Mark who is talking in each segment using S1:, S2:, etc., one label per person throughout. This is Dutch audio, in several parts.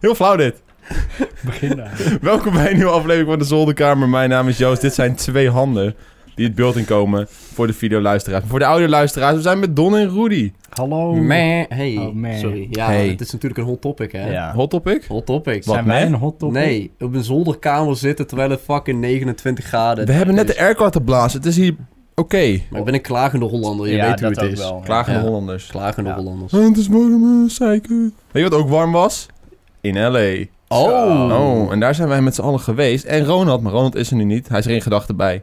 S1: Heel flauw dit.
S2: Begin daar.
S1: Welkom bij een nieuwe aflevering van de Zolderkamer. Mijn naam is Joost. Dit zijn twee handen die het beeld inkomen voor de videoluisteraars. Maar Voor de audioluisteraars, we zijn met Don en Rudy.
S2: Hallo.
S3: Meh. Hey,
S2: Oh, meh.
S3: sorry. Ja,
S1: Hey.
S3: het is natuurlijk een hot topic, hè?
S2: Ja.
S1: Hot topic?
S3: Hot topic.
S1: Wat,
S2: Zijn wij
S1: meh?
S2: een hot topic?
S3: Nee, op een zolderkamer zitten terwijl het fucking 29 graden
S1: We hebben net
S3: is.
S1: de airco te blazen. Het is hier oké.
S3: Maar ik ben een klagende Hollander, je
S2: Ja,
S3: weet hoe
S2: dat
S3: het
S2: ook
S3: is.
S2: wel.
S1: Klagende
S3: Ja.
S1: Hollanders.
S3: Klagende
S2: Ja.
S3: Hollanders.
S1: Oh, het is warm, eh, zeiken. Weet je wat ook warm was? In L.A.
S3: Oh.
S1: Oh, en daar zijn wij met z'n allen geweest. En Ronald, maar Ronald is er nu niet. Hij is er in gedachten bij.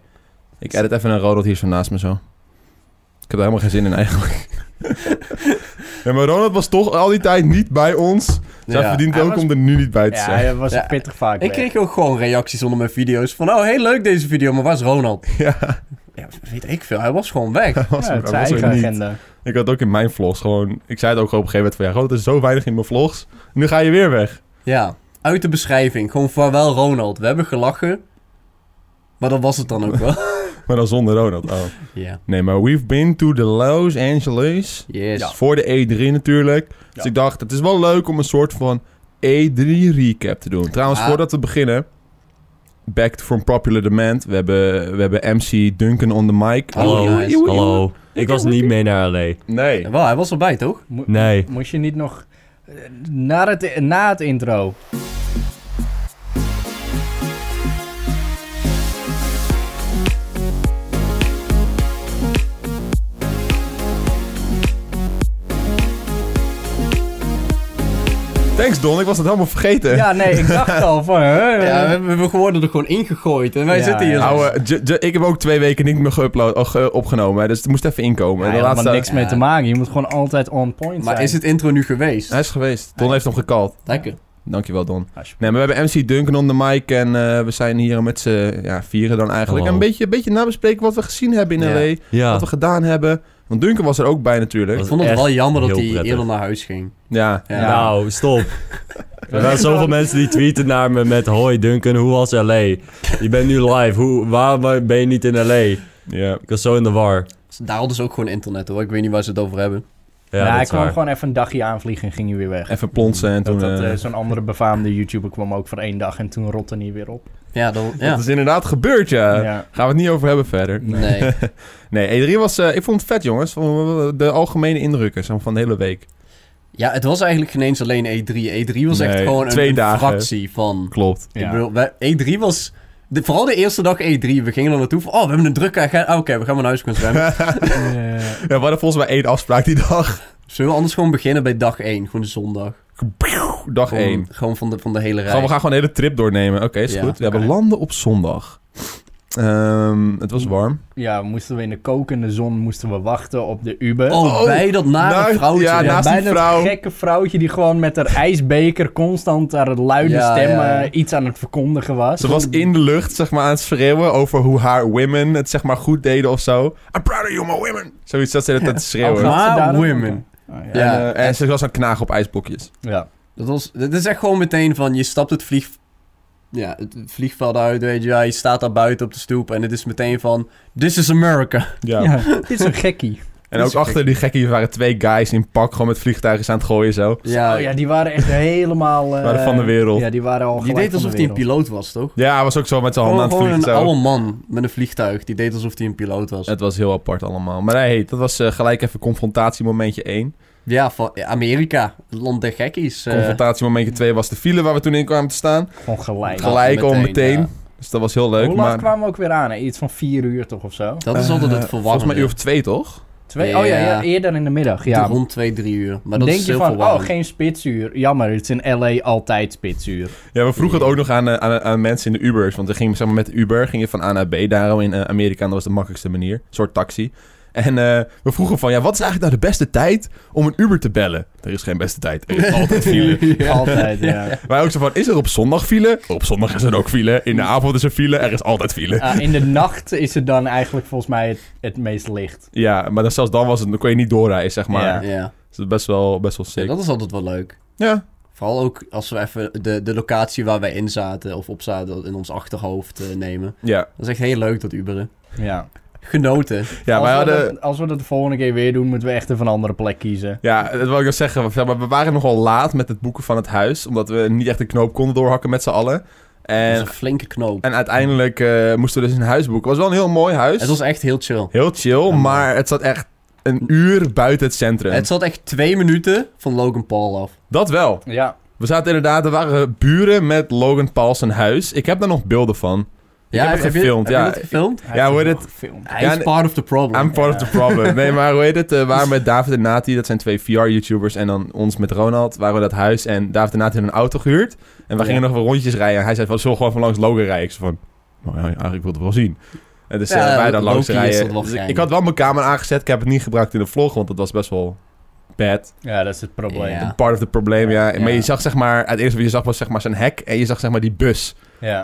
S1: Ik edit even een Ronald hier zo naast me zo. Ik heb er helemaal geen zin in eigenlijk. ja, maar Ronald was toch al die tijd niet bij ons. Dus hij
S3: Ja.
S1: verdient
S2: Hij
S1: ook
S2: was-
S1: om er nu niet bij te
S2: Ja,
S1: zijn.
S2: hij was
S3: Ja.
S2: pittig vaak
S3: Ik
S2: weg.
S3: kreeg ook gewoon reacties onder mijn video's van... Oh, heel leuk deze video, maar waar is Ronald?
S1: Ja,
S3: Ja, weet ik veel. Hij was gewoon weg.
S1: hij was,
S2: Ja,
S1: er-
S2: het
S1: hij was
S2: zijn
S1: er
S2: eigen
S1: niet.
S2: agenda.
S1: Ik had ook in mijn vlogs gewoon... Ik zei het ook op een gegeven moment van... Ja, Ronald is zo weinig in mijn vlogs. Nu ga je weer weg.
S3: Ja, uit de beschrijving. Gewoon vaarwel Ronald. We hebben gelachen. Maar dat was het dan ook wel.
S1: Maar dan zonder Ronald. Oh.
S3: Ja.
S1: Nee, maar we've been to the Los Angeles.
S3: Yes.
S1: Dus Voor de E3 natuurlijk. Dus
S2: Ja.
S1: ik dacht, het is wel leuk om een soort van E3 recap te doen. Trouwens,
S3: Ah.
S1: voordat we beginnen. Back from popular demand. We hebben, we hebben MC Duncan on the mic.
S3: Hallo.
S1: Oei, oei, oei, oei.
S4: Hallo. Ik was niet mee naar L.A.
S1: Nee.
S3: Wel, hij was erbij, toch?
S2: Mo-
S4: Nee.
S2: Moest je niet nog... eh, Na het, na het intro.
S1: Thanks Don, ik was dat helemaal vergeten.
S2: Ja, nee, ik dacht al van... hè,
S3: Ja, we hebben we worden er gewoon ingegooid. En wij
S2: Ja,
S3: zitten hier dus.
S2: ja.
S3: zo.
S1: Eh. Ouwe, j- j- ik heb ook twee weken niet meer geüpload, oh, ge- opgenomen, hè, dus het moest even inkomen.
S2: Ja,
S1: de
S2: helemaal
S1: laatste...
S2: niks mee te maken. Je moet gewoon altijd on point
S3: Maar
S2: zijn.
S3: is het intro nu geweest?
S1: Hij is geweest. Don heeft hem gekald.
S3: Lekker.
S1: Dankjewel Don.
S2: Alsjeblieft.
S1: Nee, maar we hebben MC Duncan on the mic en eh, we zijn hier met z'n ja, vieren dan eigenlijk.
S4: Hallo.
S1: En een beetje, een beetje nabespreken wat we gezien hebben in
S3: Ja.
S1: L.A.
S4: Ja. Ah.
S1: Wat we gedaan hebben. Want Duncan was er ook bij natuurlijk.
S3: Ik
S4: Was
S3: vond het
S4: echt
S3: wel jammer dat
S4: heel
S3: hij
S4: prettig.
S3: eerder naar huis ging.
S1: Ja.
S3: Ja.
S4: Nou, stop. Er zijn zoveel mensen die tweeten naar me met... Hoi Duncan, hoe was L.A.? Je bent nu live. Hoe, waarom ben je niet in L.A.?
S1: ja.
S4: Ik was zo in de war.
S3: Daar hadden ze ook gewoon internet hoor. Ik weet niet waar ze het over hebben.
S4: Ja,
S2: nou,
S4: dat
S2: hij
S4: is
S2: kwam
S4: waar.
S2: gewoon even een dagje aanvliegen en ging hij weer weg.
S1: Even plonsen en toen...
S2: Dat, dat,
S1: eh,
S2: eh, Zo'n andere befaamde YouTuber kwam ook voor één dag en toen rotte hij weer op.
S3: Ja, dan, ja.
S1: Dat is inderdaad gebeurd, ja.
S2: ja.
S1: Gaan we het niet over hebben verder.
S3: Nee.
S1: Nee, E3 was... eh, ik vond het vet, jongens. De algemene indrukken zeg maar, van de hele week.
S3: Ja, het was eigenlijk geen eens alleen E E3. E3 was echt
S1: Nee,
S3: gewoon een,
S1: twee
S3: een
S1: dagen.
S3: fractie van.
S1: Klopt.
S3: Ik bedoel, wij- E3 was. de- vooral de eerste dag E3. We gingen er naartoe van. Oh, we hebben een drukke agenda. Oh, Oké, we gaan maar naar huis gaan zwemmen.
S2: Eh,
S1: Ja, we hadden volgens mij één afspraak die dag.
S3: Zullen we anders gewoon beginnen bij dag 1? Gewoon de zondag.
S1: Dag
S3: Gewoon,
S1: één.
S3: Gewoon van de, van de hele rij.
S1: Gewoon, we gaan gewoon een hele trip doornemen. Oké, is
S3: Ja.
S1: goed. We hebben landen op zondag. Ehm, het was warm.
S2: ja, moesten we in de kokende zon moesten we wachten op de Uber.
S3: Oh,
S1: Oh,
S3: bij dat nare
S1: nou,
S3: vrouwtje.
S1: ja,
S2: Ja,
S1: naast die
S2: bijna het
S1: vrouw.
S2: gekke vrouwtje die gewoon met haar ijsbeker constant haar luide
S3: Ja,
S2: stem
S3: ja.
S2: eh, iets aan het verkondigen was.
S1: Ze was in de lucht, zeg maar, aan het schreeuwen over hoe haar women het, zeg maar, goed deden of zo. I'm proud of you, my women. Zoiets dat ze dat aan het schreeuwen. en,
S3: Oh, maar
S2: daarom-
S3: women.
S2: Oh, ja.
S3: Ja.
S1: eh, en ze was aan het knagen op ijsblokjes.
S2: Ja.
S3: Dat, was, dat is echt gewoon meteen van, je stapt het, vlieg, ja, het vliegveld uit, weet je, ja, je staat daar buiten op de stoep en het is meteen van, this is America.
S1: Ja.
S2: Ja, dit is een gekkie.
S1: En ook achter die gekkie waren twee guys in pak, gewoon met vliegtuigen aan het gooien zo.
S3: Ja,
S2: Oh ja, die waren echt helemaal... eh,
S1: Waren van de wereld.
S2: Ja, die waren al
S3: die
S2: gelijk
S3: deed
S2: van de
S3: alsof hij een
S2: wereld.
S3: piloot was, toch?
S1: Ja, hij was ook zo met zijn handen
S3: Gewoon,
S1: aan het
S3: gewoon
S1: vliegen
S3: een
S1: zo.
S3: oude man met een vliegtuig, die deed alsof hij een piloot was.
S1: Het was heel apart allemaal. Maar nee, hey, dat was eh, gelijk even confrontatiemomentje 1.
S3: Ja, van ja, Amerika, het land der gekkies. eh.
S1: Confrontatiemomentje 2 was de file waar we toen in kwamen te staan.
S2: Gewoon gelijk.
S3: Nou,
S1: Gelijk al meteen.
S3: ja.
S1: Dus dat was heel leuk.
S2: Hoe laat
S1: maar
S2: kwamen we ook weer aan? hè? Iets van vier uur toch of zo?
S3: Dat is altijd
S1: eh,
S3: het
S1: volgens mij
S3: verwarrende.
S1: uur of twee, toch?
S2: Twee? Oh ja,
S3: Ja.
S2: ja, eerder in de middag. Ja.
S3: Rond twee, drie uur. Maar dat
S2: Denk
S3: is
S2: je
S3: heel
S2: van, oh,
S3: verwarrend.
S2: geen spitsuur. Jammer, het is in LA altijd spitsuur.
S1: Ja, we vroegen het ook nog aan, eh, aan, aan mensen in de Ubers. Want we gingen zeg maar, met de Uber ging je van A naar B. Daarom in eh, Amerika, en dat was de makkelijkste manier. Een soort taxi. En eh, we vroegen van, ja, wat is eigenlijk nou de beste tijd om een Uber te bellen? Er is geen beste tijd. Er is altijd file.
S2: Altijd, ja.
S1: Wij ook zo van, is er op zondag file? Op zondag is er ook file. In de avond is er file. Er is altijd file.
S2: Ah, in de nacht is het dan eigenlijk volgens mij het, het meest licht.
S1: Ja, maar dan, zelfs dan was het, dan kon je niet doorrijden, zeg maar.
S2: Ja.
S3: Ja.
S1: Dus dat is best wel, best wel
S3: ja,
S1: sick. Ja,
S3: dat is altijd wel leuk. Vooral ook als we even de, de locatie waar wij in zaten of op zaten in ons achterhoofd eh, nemen.
S1: ja.
S3: Dat is echt heel leuk, dat Uberen.
S2: Ja.
S3: genoten.
S1: Ja,
S2: als,
S1: wij
S2: we
S1: hadden...
S2: dat, als we dat de volgende keer weer doen, moeten we echt even een andere plek kiezen.
S1: Ja, dat wil ik nog zeggen. Zeg maar, We waren nogal laat met het boeken van het huis. Omdat we niet echt de knoop konden doorhakken met z'n allen.
S3: Dat is een
S1: En,
S3: flinke knoop.
S1: en uiteindelijk eh, moesten we dus een huis boeken. Het was wel een heel mooi huis.
S3: Het was echt heel chill.
S1: Heel chill,
S2: Ja,
S1: maar het zat echt een uur buiten het centrum.
S3: Het zat echt twee minuten van Logan Paul af.
S1: Dat wel.
S2: Ja,
S1: We zaten inderdaad, er waren buren met Logan Paul zijn huis. Ik heb daar nog beelden van. heb het
S3: je-
S1: gefilmd,
S3: heb
S1: ja.
S3: Je, dat gefilmd?
S2: hij
S1: Ja,
S2: heeft
S1: hoe
S2: hem
S1: heet
S2: wel gefilmd.
S3: Hij
S1: Ja,
S3: is
S1: en-
S3: part of the problem.
S1: I'm part of the problem. Nee, maar hoe heet het? eh, we waren met David en Nati, dat zijn twee VR-YouTubers. En dan ons met Ronald, waren we dat huis. En David en Nati hadden een auto gehuurd. En we
S2: Ja.
S1: gingen nog wel rondjes rijden. En hij zei van, zullen we gewoon van langs Logan rijden? Ik zei van, nou ja, eigenlijk wil ik het wel zien. En dus
S3: Ja,
S1: eh, wij
S3: dat
S1: daar langs
S3: low-key is dat
S1: rijden.
S3: wel
S1: Dus ik-
S3: geinig.
S1: ik had wel mijn camera aangezet. Ik heb het niet gebruikt in de vlog, want dat was best wel bad.
S2: Ja, dat is het probleem.
S3: Ja.
S2: Ja.
S1: Part of the probleem, ja.
S3: Ja.
S1: Maar je zag zeg maar, het eerste wat je zag was zeg maar zijn hek en je zag zeg maar die bus.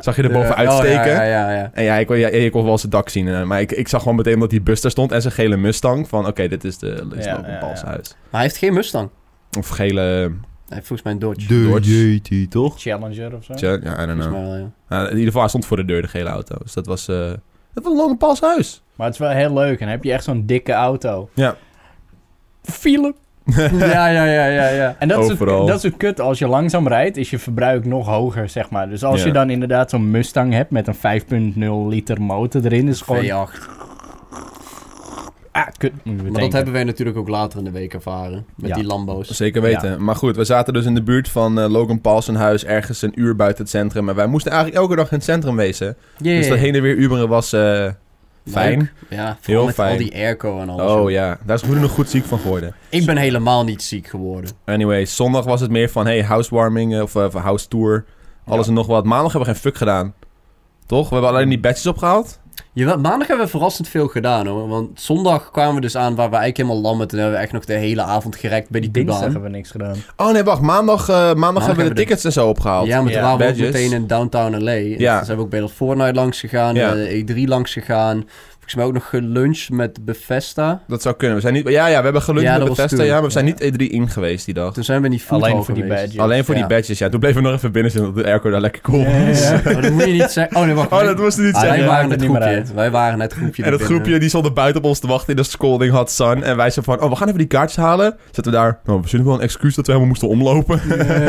S1: Zag je er
S3: De-
S1: bovenuit
S3: oh,
S1: steken.
S3: ja, ja, ja, ja.
S1: En ja ik, kon- ja, ik kon wel zijn dak zien. eh, Maar ik, ik zag gewoon meteen dat die bus daar stond en zijn gele Mustang. Van oké, dit is de is
S2: Ja,
S1: Logan
S2: ja,
S1: Paul's
S2: ja.
S1: huis.
S3: Maar hij heeft geen Mustang.
S1: Of gele...
S3: Hij heeft volgens mij een Dodge.
S1: Dodge.
S4: toch?
S2: Challenger of zo.
S1: Ja, I don't
S3: Volgens
S1: know.
S3: mij wel, ja.
S1: Nou, in ieder geval, hij stond voor de deur, de gele auto. Dus dat was... eh dat was Logan Paul's huis.
S2: Maar het is wel heel leuk. En dan heb je echt zo'n dikke auto.
S1: Ja.
S2: Philip.
S3: ja, ja, ja, ja, ja.
S2: En dat is, het,
S1: Overal.
S2: dat is het kut. Als je langzaam rijdt, is je verbruik nog hoger, zeg maar. Dus als
S1: Ja.
S2: je dan inderdaad zo'n Mustang hebt met een 5.0 liter motor erin, is het gewoon...
S3: V8.
S2: Ah, kut. moet je
S3: Maar dat
S2: bedenken.
S3: hebben wij natuurlijk ook later in de week ervaren. Met
S2: Ja.
S3: die Lambo's.
S1: Zeker weten. Maar goed, we zaten dus in de buurt van eh, Logan Paul's huis, ergens een uur buiten het centrum. En wij moesten eigenlijk elke dag in het centrum wezen. Dus dat heen en weer Uberen was eh, fijn.
S3: Ja,
S1: Heel
S3: heel met
S1: fijn.
S3: al die airco en alles.
S1: Oh ja, daar is Ruud nog goed ziek van geworden.
S3: Ik ben helemaal niet ziek geworden.
S1: Anyway, zondag was het meer van hey, housewarming eh, of eh, van house tour. Alles en nog wat. Maandag hebben we geen fuck gedaan. Toch? We hebben alleen die badges opgehaald.
S3: Jawel, maandag hebben we verrassend veel gedaan hoor. Want zondag kwamen we dus aan waar we eigenlijk helemaal lam en Toen hebben we echt nog de hele avond gerekt bij die
S2: Dinsdag
S3: Kubaan.
S2: hebben we niks gedaan.
S1: Oh nee, wacht. Maandag, eh, maandag, hebben we de
S3: hebben we
S1: tickets en zo opgehaald.
S3: Ja, maar
S2: Ja,
S3: toen waren we ook
S1: badges.
S3: meteen in downtown LA. En
S1: Ja.
S3: Toen zijn we ook bij dat Fortnite langs gegaan,
S1: Ja.
S3: eh, E3 langs gegaan. Volgens mij ook nog geluncht met Bethesda.
S1: Dat zou kunnen. We zijn niet... Ja, ja, we hebben geluk
S3: Ja,
S1: met
S3: dat was
S1: Bethesda.
S3: toen.
S1: Ja, maar we zijn
S3: Ja.
S1: niet E3 in geweest die dag.
S3: Toen zijn we niet voetbal
S2: Alleen voor die
S3: geweest.
S2: badges.
S1: alleen voor
S3: Ja.
S1: die badges. Ja, toen bleven we nog even binnen zitten omdat de airco daar lekker cool was.
S3: Oh, dat moet je niet zeggen. Oh, nee, wacht.
S1: Oh, dat moest hij niet
S3: Ah,
S1: zeggen.
S2: ja.
S3: wij,
S2: maakt
S3: waren
S2: het
S3: het
S2: niet meer
S3: groepje.
S2: uit.
S3: wij waren het groepje.
S1: En dat
S3: erbinnen.
S1: groepje die stond er buiten op ons te wachten in de scolding hot sun. En wij zeiden van, oh, we gaan even die kaartjes halen. Zetten we daar, nou, we zullen wel een excuus dat we helemaal moesten omlopen.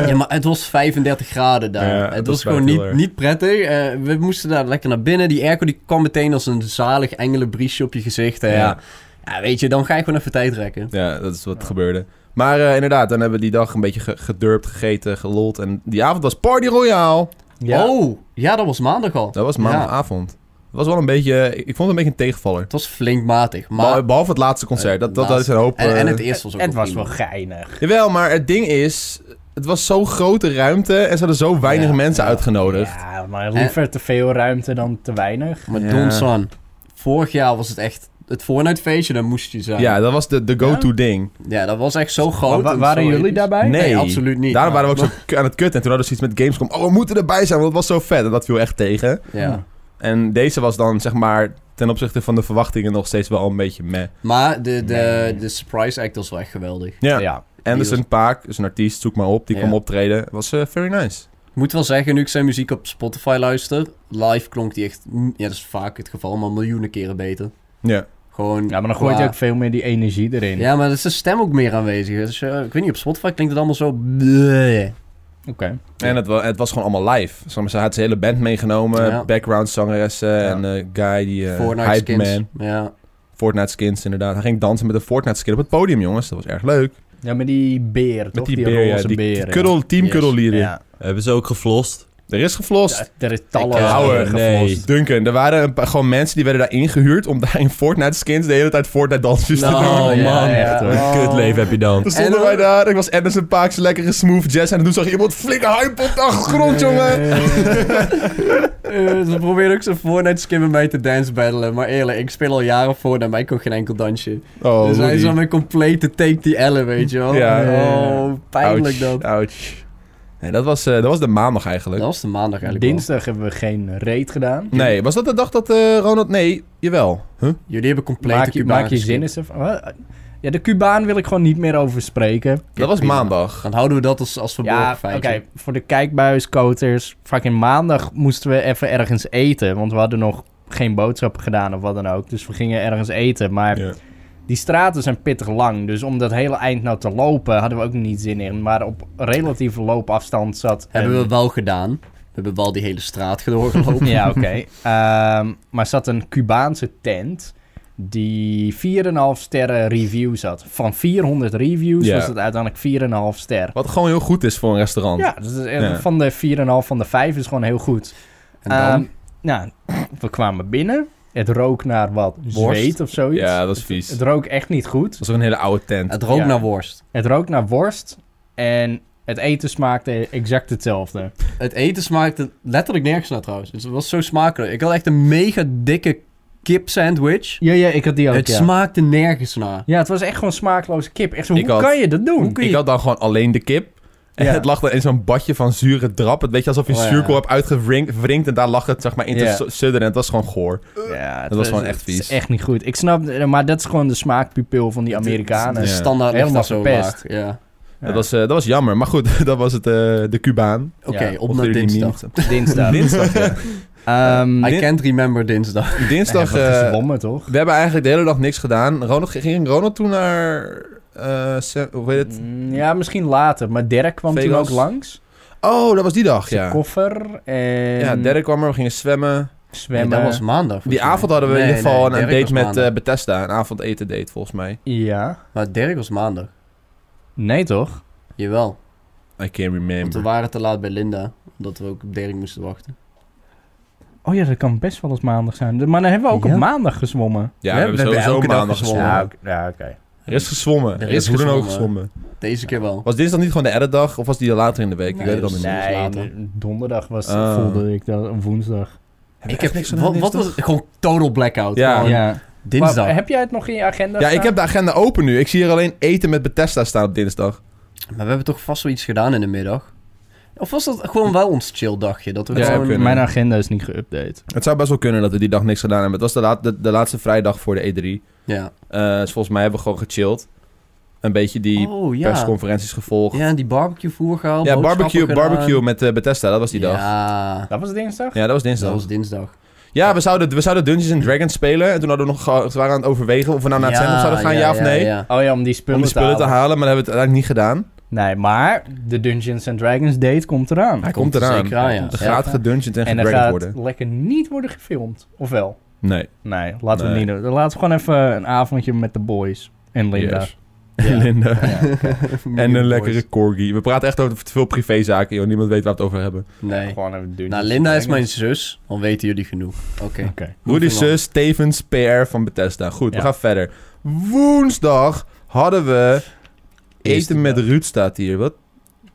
S3: Ja, maar het was 35 graden daar.
S1: Ja, dat
S3: het was
S1: is wel
S3: gewoon
S1: heel
S3: niet,
S1: erg.
S3: niet prettig. Eh, we moesten daar lekker naar binnen. Die airco die kwam meteen als een zalig engelenbriesje op je gezicht. hè,
S1: Ja.
S3: ja. Ja, weet je, dan ga je gewoon even tijd rekken.
S1: Ja, dat is wat gebeurde. Maar eh, inderdaad, dan hebben we die dag een beetje ge- gedurpt, gegeten, gelold. En die avond was Party Royale.
S2: Ja.
S3: Oh, ja, dat was maandag al.
S1: Dat was maandagavond. Dat was wel een beetje... eh, Ik vond het een beetje een tegenvaller.
S3: Het was flink matig.
S1: Beh-
S3: Maar,
S1: Behalve het laatste concert. Dat, dat, dat is een hoop...
S3: en, en
S1: eh,
S3: het eerste was ook
S2: het
S3: nog
S2: was
S3: prima.
S2: wel geinig.
S1: Jawel, maar het ding is... Het was zo'n grote ruimte en ze hadden zo weinig
S3: Ja,
S1: mensen
S3: ja.
S1: uitgenodigd.
S2: Ja, maar liever te veel ruimte dan te weinig.
S3: Maar
S1: Ja.
S3: Don San, vorig jaar was het echt... Het Fortnite feestje, daar moest je
S1: Ja,
S3: zijn.
S1: dat was de, de go-to ding.
S3: Ja, dat was echt zo
S2: Maar
S3: groot.
S2: wa-
S3: en
S2: waren
S3: zo
S2: jullie
S3: episch.
S2: daarbij?
S1: Nee.
S3: Nee, absoluut niet.
S1: Daarom
S3: Maar-
S1: waren we ook zo k- aan het kutten. En toen hadden ze iets met Gamescom. Oh, we moeten erbij zijn, want dat was zo vet. En dat viel echt tegen.
S3: Ja.
S1: En deze was dan, zeg maar, ten opzichte van de verwachtingen nog steeds wel een beetje meh.
S3: Maar de, de,
S2: Nee.
S3: de surprise act was wel echt geweldig.
S1: Ja.
S2: Ja.
S1: Anderson Paak, is een artiest, zoek maar op. Die
S3: Ja.
S1: kwam optreden. Was eh, very nice.
S3: Ik moet wel zeggen, nu ik zijn muziek op Spotify luister, live klonk die echt, mm, ja dat is vaak het geval, maar miljoenen keren beter.
S1: Ja.
S3: Gewoon.
S2: Ja, maar dan gooit je
S3: qua-
S2: ook veel meer die energie erin.
S3: Ja, maar er is de stem ook meer aanwezig. Dus, eh, ik weet niet, op Spotify klinkt het allemaal zo. bleh.
S2: Oké.
S1: En het, wa- het was gewoon allemaal live. Zeg maar, Ze had zijn hele band meegenomen.
S3: Ja.
S1: Background zangeressen. En eh, guy die... eh
S3: Fortnite
S1: hype
S3: skins.
S1: man. Oh,
S3: Ja.
S1: Fortnite skins, inderdaad. Hij ging dansen met een Fortnite skin op het podium, jongens. Dat was erg leuk.
S2: Ja, maar die beer, toch?
S1: Met die, beer, ja,
S2: roze
S1: die,
S2: beer.
S1: die
S2: ja.
S1: kuddel- team
S3: Yes.
S1: kuddellieden.
S2: Ja.
S4: Hebben ze ook geflost?
S1: Er is geflost.
S2: Ja, er is talloze
S3: Ik, eh,
S1: ouwe,
S2: beeren
S4: nee.
S2: geflost.
S1: Duncan, er waren een paar, gewoon mensen die werden daar ingehuurd om daar in Fortnite skins de hele tijd Fortnite dansjes te doen.
S3: Nou,
S4: Oh
S3: ja,
S4: man,
S2: ja.
S4: echt hoor.
S2: Oh.
S4: Een kutleven heb je dan.
S1: Toen stonden
S3: En-
S1: wij daar, ik was Anderson Paak's lekkere smooth jazz en toen zag je iemand flikker hype op de achtergrond, jongen.
S3: Eh, ze proberen ook zo'n Fortnite skin met mij te dance battlen. Maar eerlijk, ik speel al jaren Fortnite, maar ik kon geen enkel dansje.
S1: Oh,
S3: dus hij
S1: Rudy.
S3: is dan mijn complete take die L, weet je wel.
S1: Ja.
S3: Oh, pijnlijk
S1: Ouch,
S3: dat.
S1: ouch. Nee, dat was, eh, dat was de maandag eigenlijk.
S3: Dat was de maandag eigenlijk wel.
S2: Dinsdag hebben we geen reet gedaan.
S1: Nee, was dat de dag dat eh, Ronald... Nee, jawel. Huh?
S3: Jullie hebben complete
S2: Maak je,
S3: Cubaan
S2: maak je
S3: geskipt.
S2: zin eens even. Wat? Ja, de Cubaan wil ik gewoon niet meer over spreken.
S1: Dat was
S3: prima.
S1: maandag.
S3: Dan houden we dat als, als verborgen
S2: Ja, oké.
S3: feitje.
S2: voor de kijkbuiskoters. Fucking maandag moesten we even ergens eten. Want we hadden nog geen boodschappen gedaan of wat dan ook. Dus we gingen ergens eten. Maar
S1: Ja.
S2: die straten zijn pittig lang. Dus om dat hele eind nou te lopen hadden we ook niet zin in. Maar op relatieve loopafstand zat...
S3: Hebben
S2: een-
S3: we wel gedaan. We hebben wel die hele straat doorgelopen.
S2: Ja, oké. Ehm, maar zat een Cubaanse tent die 4,5 sterren reviews had. Van 400 reviews
S1: Ja.
S2: was het uiteindelijk 4,5 ster.
S1: Wat gewoon heel goed is voor een restaurant.
S2: Ja, dus dat is echt-
S1: Ja.
S2: van de 4,5 van de 5 is gewoon heel goed.
S3: En dan?
S2: Ehm, nou, we kwamen binnen. Het rook naar wat
S3: Worst.
S2: zweet of zoiets.
S1: Ja, dat is vies.
S2: Het rook echt niet goed.
S1: Dat was ook een hele oude tent.
S3: het rook
S2: ja.
S3: naar worst.
S2: Het rook naar worst en het eten smaakte exact hetzelfde.
S3: Het eten smaakte letterlijk nergens naar trouwens. Dus het was zo smakelijk. Ik had echt een mega dikke kip sandwich.
S2: Ja, ja, ik had die ook,
S3: het
S2: ja.
S3: smaakte nergens naar.
S2: ja, het was echt gewoon smaakloze kip. Echt zo,
S1: Ik
S2: hoe
S1: had-
S2: kan je dat doen?
S1: Ik had dan gewoon alleen de kip. En
S2: Ja.
S1: het lag dan in zo'n badje van zure drap. Het weet je alsof je
S3: Oh, ja.
S1: zuurkool hebt uitgewrinkt en daar lag het zeg maar in te
S2: Ja.
S1: su- sudderen. En het was gewoon goor.
S2: Ja, het
S1: was gewoon echt
S2: het is
S1: vies.
S2: echt niet goed. Ik snap, maar dat is gewoon de smaakpupil van die Amerikanen.
S3: De
S1: Ja.
S3: standaard ligt
S2: Helemaal
S3: daar zo
S2: verpest.
S3: laag. Ja.
S2: Ja.
S1: Dat, was, eh, dat was jammer. Maar goed, dat was het, eh, de Cubaan.
S3: Oké,
S2: Ja,
S3: op
S1: Of
S3: naar
S1: de- die
S3: dinsdag.
S2: Dinsdag.
S1: Dinsdag, ja.
S2: Ehm,
S3: I
S1: Din-
S3: can't remember dinsdag.
S1: Dinsdag,
S2: hebben we
S1: eh,
S2: gezwommen, toch?
S1: we hebben eigenlijk de hele dag niks gedaan. Ronald, ging Ronald toen naar... eh, Sa- hoe heet het?
S2: Mm, Ja, misschien later. Maar Dirk kwam toen
S1: Vegas.
S2: ook langs.
S1: Oh, dat was die dag,
S2: Zijn
S1: ja.
S2: koffer en
S1: Ja, Derek kwam er, we gingen zwemmen.
S3: Nee,
S2: zwemmen.
S3: dat was maandag. volgens
S1: Die
S3: mij.
S1: avond hadden we in
S3: Nee,
S1: ieder geval
S3: nee,
S1: een- een
S3: Dirk
S1: date
S3: was
S1: met
S3: maandag.
S1: eh, Bethesda. Een avondeten date, volgens mij.
S2: Ja.
S3: Maar Dirk was maandag.
S2: Nee, toch?
S3: Jawel.
S1: I can't
S3: Want we
S1: remember.
S3: waren te laat bij Linda. Omdat we ook op Dirk moesten wachten.
S2: Oh ja, dat kan best wel eens maandag zijn. Maar dan hebben we ook
S3: Ja.
S2: op maandag gezwommen.
S1: Ja, we hebben sowieso
S3: elke dag
S1: maandag
S3: gezwommen.
S1: gezwommen.
S2: oké. Ja, oké.
S1: Er is gezwommen. Er is hoe dan ook gezwommen.
S3: Deze keer wel.
S1: Was dinsdag niet gewoon de editdag? Of was die later in de week? ik weet het allemaal niet.
S3: Nee,
S2: Nee,
S3: later.
S2: d- donderdag was,
S1: Ah.
S2: voelde ik dat, een woensdag.
S3: Ik heb niks Wat, wat was het? Gewoon total blackout.
S1: Ja.
S3: Gewoon
S2: Ja.
S3: Dinsdag.
S2: Maar heb jij het nog in je agenda
S1: Oh, Ja, ik
S2: staan?
S1: heb de agenda open nu. Ik zie hier alleen eten met Bethesda staan op dinsdag.
S3: Maar we hebben toch vast wel iets gedaan in de middag? Of was dat gewoon wel ons chill dagje? Dat we
S1: Ja,
S3: gewoon...
S1: kunnen.
S2: Mijn agenda is niet geüpdate.
S1: Het zou best wel kunnen dat we die dag niks gedaan hebben. Het was de, laat- de, de laatste vrijdag voor de E E3.
S3: Ja.
S1: Eh, dus volgens mij hebben we gewoon gechilled. Een beetje die
S3: Oh ja.
S1: persconferenties gevolgd.
S3: Ja, en die barbecue voer gehaald.
S1: Ja,
S3: boodschappen
S1: barbecue,
S3: gedaan.
S1: barbecue met eh, Bethesda. Dat was die dag.
S3: Ja.
S2: Dat was dinsdag?
S1: Ja, dat was dinsdag.
S3: Dat was dinsdag.
S1: Ja, we zouden, we zouden Dungeons and Dragons spelen. En toen hadden we nog ge- we waren aan het overwegen of we nou naar het centrum zouden gaan, ja, of nee.
S3: ja.
S2: Oh ja, om die spullen,
S1: Om die spullen te
S2: halen.
S1: halen, maar dat hebben we het uiteindelijk niet gedaan.
S2: Nee, maar de Dungeons and Dragons date komt eraan.
S1: Hij
S3: komt
S1: komt
S3: er
S1: eraan.
S3: zeker aan, ja.
S1: Er
S2: Ja.
S1: gaat gedungeoned en
S2: En dat
S1: gedragged
S2: gaat
S1: worden.
S2: lekker niet worden gefilmd. Of wel?
S1: Nee.
S2: Nee, laten we
S1: Nee.
S2: het niet doen. Dan Laten we gewoon even een avondje met de boys en Linda.
S1: Yes.
S3: Ja.
S1: Linda.
S2: Ja, oké.
S1: En
S3: Medium
S1: een lekkere
S3: boys.
S1: corgi. We praten echt over te veel privézaken, joh. Niemand weet waar we het over hebben.
S3: Nee.
S2: Gewoon even Dungeons
S3: Nou, Linda
S2: and
S3: is mijn
S2: Dragons.
S3: zus. Dan weten jullie genoeg. Oké.
S2: Oké.
S1: Rudy
S3: Hoeveel
S1: Sus, Stevens, PR van Bethesda. Goed,
S2: Ja.
S1: we gaan verder. Woensdag hadden we
S2: Eerste
S1: eten met
S2: dag.
S1: Ruud staat hier. Wat?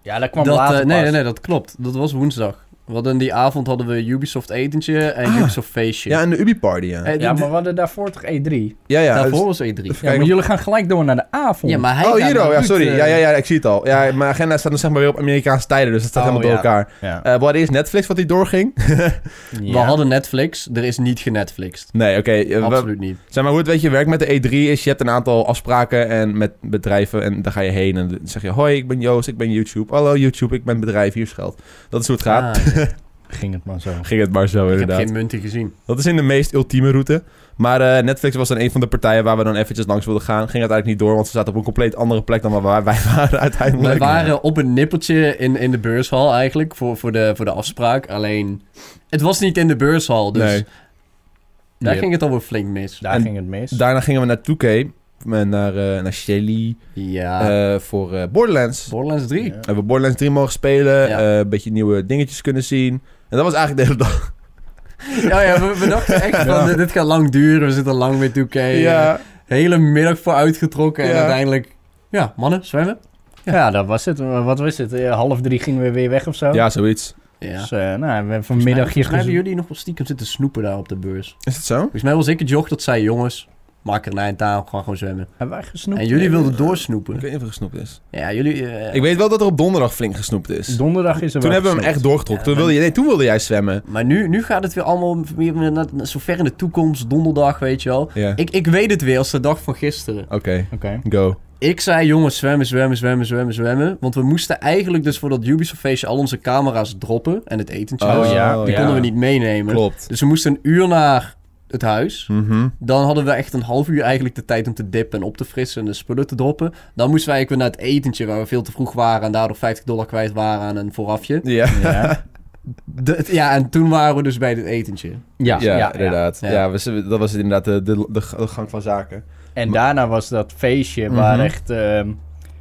S2: Ja, dat kwam
S3: Dat, eh,
S2: later
S3: nee,
S2: pas.
S3: nee, nee, dat klopt. Dat was woensdag. We hadden die avond hadden we Ubisoft etentje en
S1: Ah.
S3: Ubisoft feestje.
S1: Ja, en de Ubi-party, ja.
S3: Eh,
S2: Ja,
S3: d- d-
S2: maar we hadden daarvoor toch E3?
S1: Ja, ja.
S3: daarvoor
S1: dus-
S3: was E3.
S2: Ja, maar
S1: Kijk,
S2: jullie gaan gelijk door naar de avond.
S3: Ja, maar hij
S1: oh,
S3: gaat
S1: hier
S3: naar
S1: oh, ja,
S3: Ruud,
S1: sorry.
S3: eh,
S1: Ja, ja, ja, ik zie het al. Ja, mijn agenda staat nog zeg maar weer op Amerikaanse tijden, dus dat staat
S2: Oh,
S1: helemaal
S2: ja.
S1: door elkaar.
S2: Ja.
S1: Eh, we hadden eerst Netflix wat die doorging.
S3: We hadden Netflix, er is niet genetflixt.
S1: Nee, oké. eh, we-
S3: Absoluut niet.
S1: Zeg maar hoe het weet je werkt met de E3 is, je hebt een aantal afspraken en met bedrijven en daar ga je heen en dan zeg je, hoi, ik ben Joost, ik ben YouTube. Hallo YouTube, ik ben bedrijf, hier is geld. Dat is hoe het gaat.
S3: Ah, ik
S2: Ging het maar zo.
S1: Ging het maar zo
S3: heb
S1: inderdaad.
S3: geen munten gezien.
S1: Dat is in de meest ultieme route. Maar eh, Netflix was dan een van de partijen waar we dan eventjes langs wilden gaan. Ging uiteindelijk niet door, want ze zaten op een compleet andere plek dan waar wij waren uiteindelijk.
S3: We waren op een nippertje in, in de beurshal eigenlijk voor, voor, de, voor de afspraak. Alleen, het was niet in de beurshal, dus
S1: Nee.
S3: daar
S1: Nee.
S3: ging het alweer flink mis.
S2: Daar
S1: En
S2: ging het mis.
S1: Daarna gingen we naar 2K, eh, naar, eh, naar Shelly,
S3: ja,
S1: eh, voor eh, Borderlands.
S3: Borderlands 3.
S2: Ja.
S1: Hebben we Borderlands 3 mogen spelen,
S3: Ja.
S1: eh, een beetje nieuwe dingetjes kunnen zien. En dat was eigenlijk de hele dag.
S3: Ja, ja, we, we dachten echt van, dit, dit gaat lang duren, we zitten lang met 2K. eh, Hele middag voor uitgetrokken en
S1: Ja.
S3: uiteindelijk, ja, mannen, zwemmen.
S2: Ja, dat was het. Eh, Wat was het? Eh, Half drie gingen we weer weg of
S3: eh.
S2: zo?
S1: Ja, zoiets.
S3: Ja.
S2: Dus, eh, nou, we hebben vanmiddag hier
S3: Volgens mij hebben
S2: gezien.
S3: jullie nog wel stiekem zitten snoepen daar op de beurs.
S1: Is het zo?
S3: Volgens mij was ik het joch dat zei, jongens, maak er een eind aan, we gaan gewoon zwemmen.
S2: Hebben wij gesnoept?
S3: En jullie wilden doorsnoepen.
S1: Ik weet niet of er gesnoept is.
S3: Ja, jullie... eh,
S1: Ik weet wel dat er op donderdag flink gesnoept is.
S2: Donderdag is
S1: toen
S2: er wel
S1: hebben we hem
S2: gesnoept.
S1: echt doorgetrokken.
S3: Ja,
S1: toen, wilde je, nee, toen wilde jij zwemmen.
S3: Maar nu, nu gaat het weer allemaal weer naar, naar zo ver in de toekomst, donderdag, weet je wel.
S1: Ja.
S3: Ik, ik weet het weer als de dag van gisteren.
S1: Oké,
S2: Oké.
S1: go.
S3: Ik zei, jongens, zwemmen, zwemmen, zwemmen, zwemmen, zwemmen. Want we moesten eigenlijk dus voor dat Ubisoft-feestje al onze camera's droppen en het etentje.
S2: Oh,
S3: Dus
S2: ja,
S3: Die
S2: ja.
S3: konden we niet meenemen.
S1: Klopt.
S3: Dus we moesten een uur naar het huis.
S1: Mhm.
S3: Dan hadden we echt een half uur eigenlijk de tijd om te dippen en op te frissen en de spullen te droppen. Dan moesten we eigenlijk weer naar het etentje waar we veel te vroeg waren en daardoor 50 dollar kwijt waren aan een voorafje.
S1: Ja.
S2: Ja,
S3: De- ja, en toen waren we dus bij het etentje.
S2: ja,
S1: Ja,
S2: ja.
S1: inderdaad. Ja,
S3: Ja.
S1: we- dat was inderdaad de, de, de g- de gang van zaken.
S2: En daarna was dat feestje waar
S1: Mhm.
S2: echt, ehm,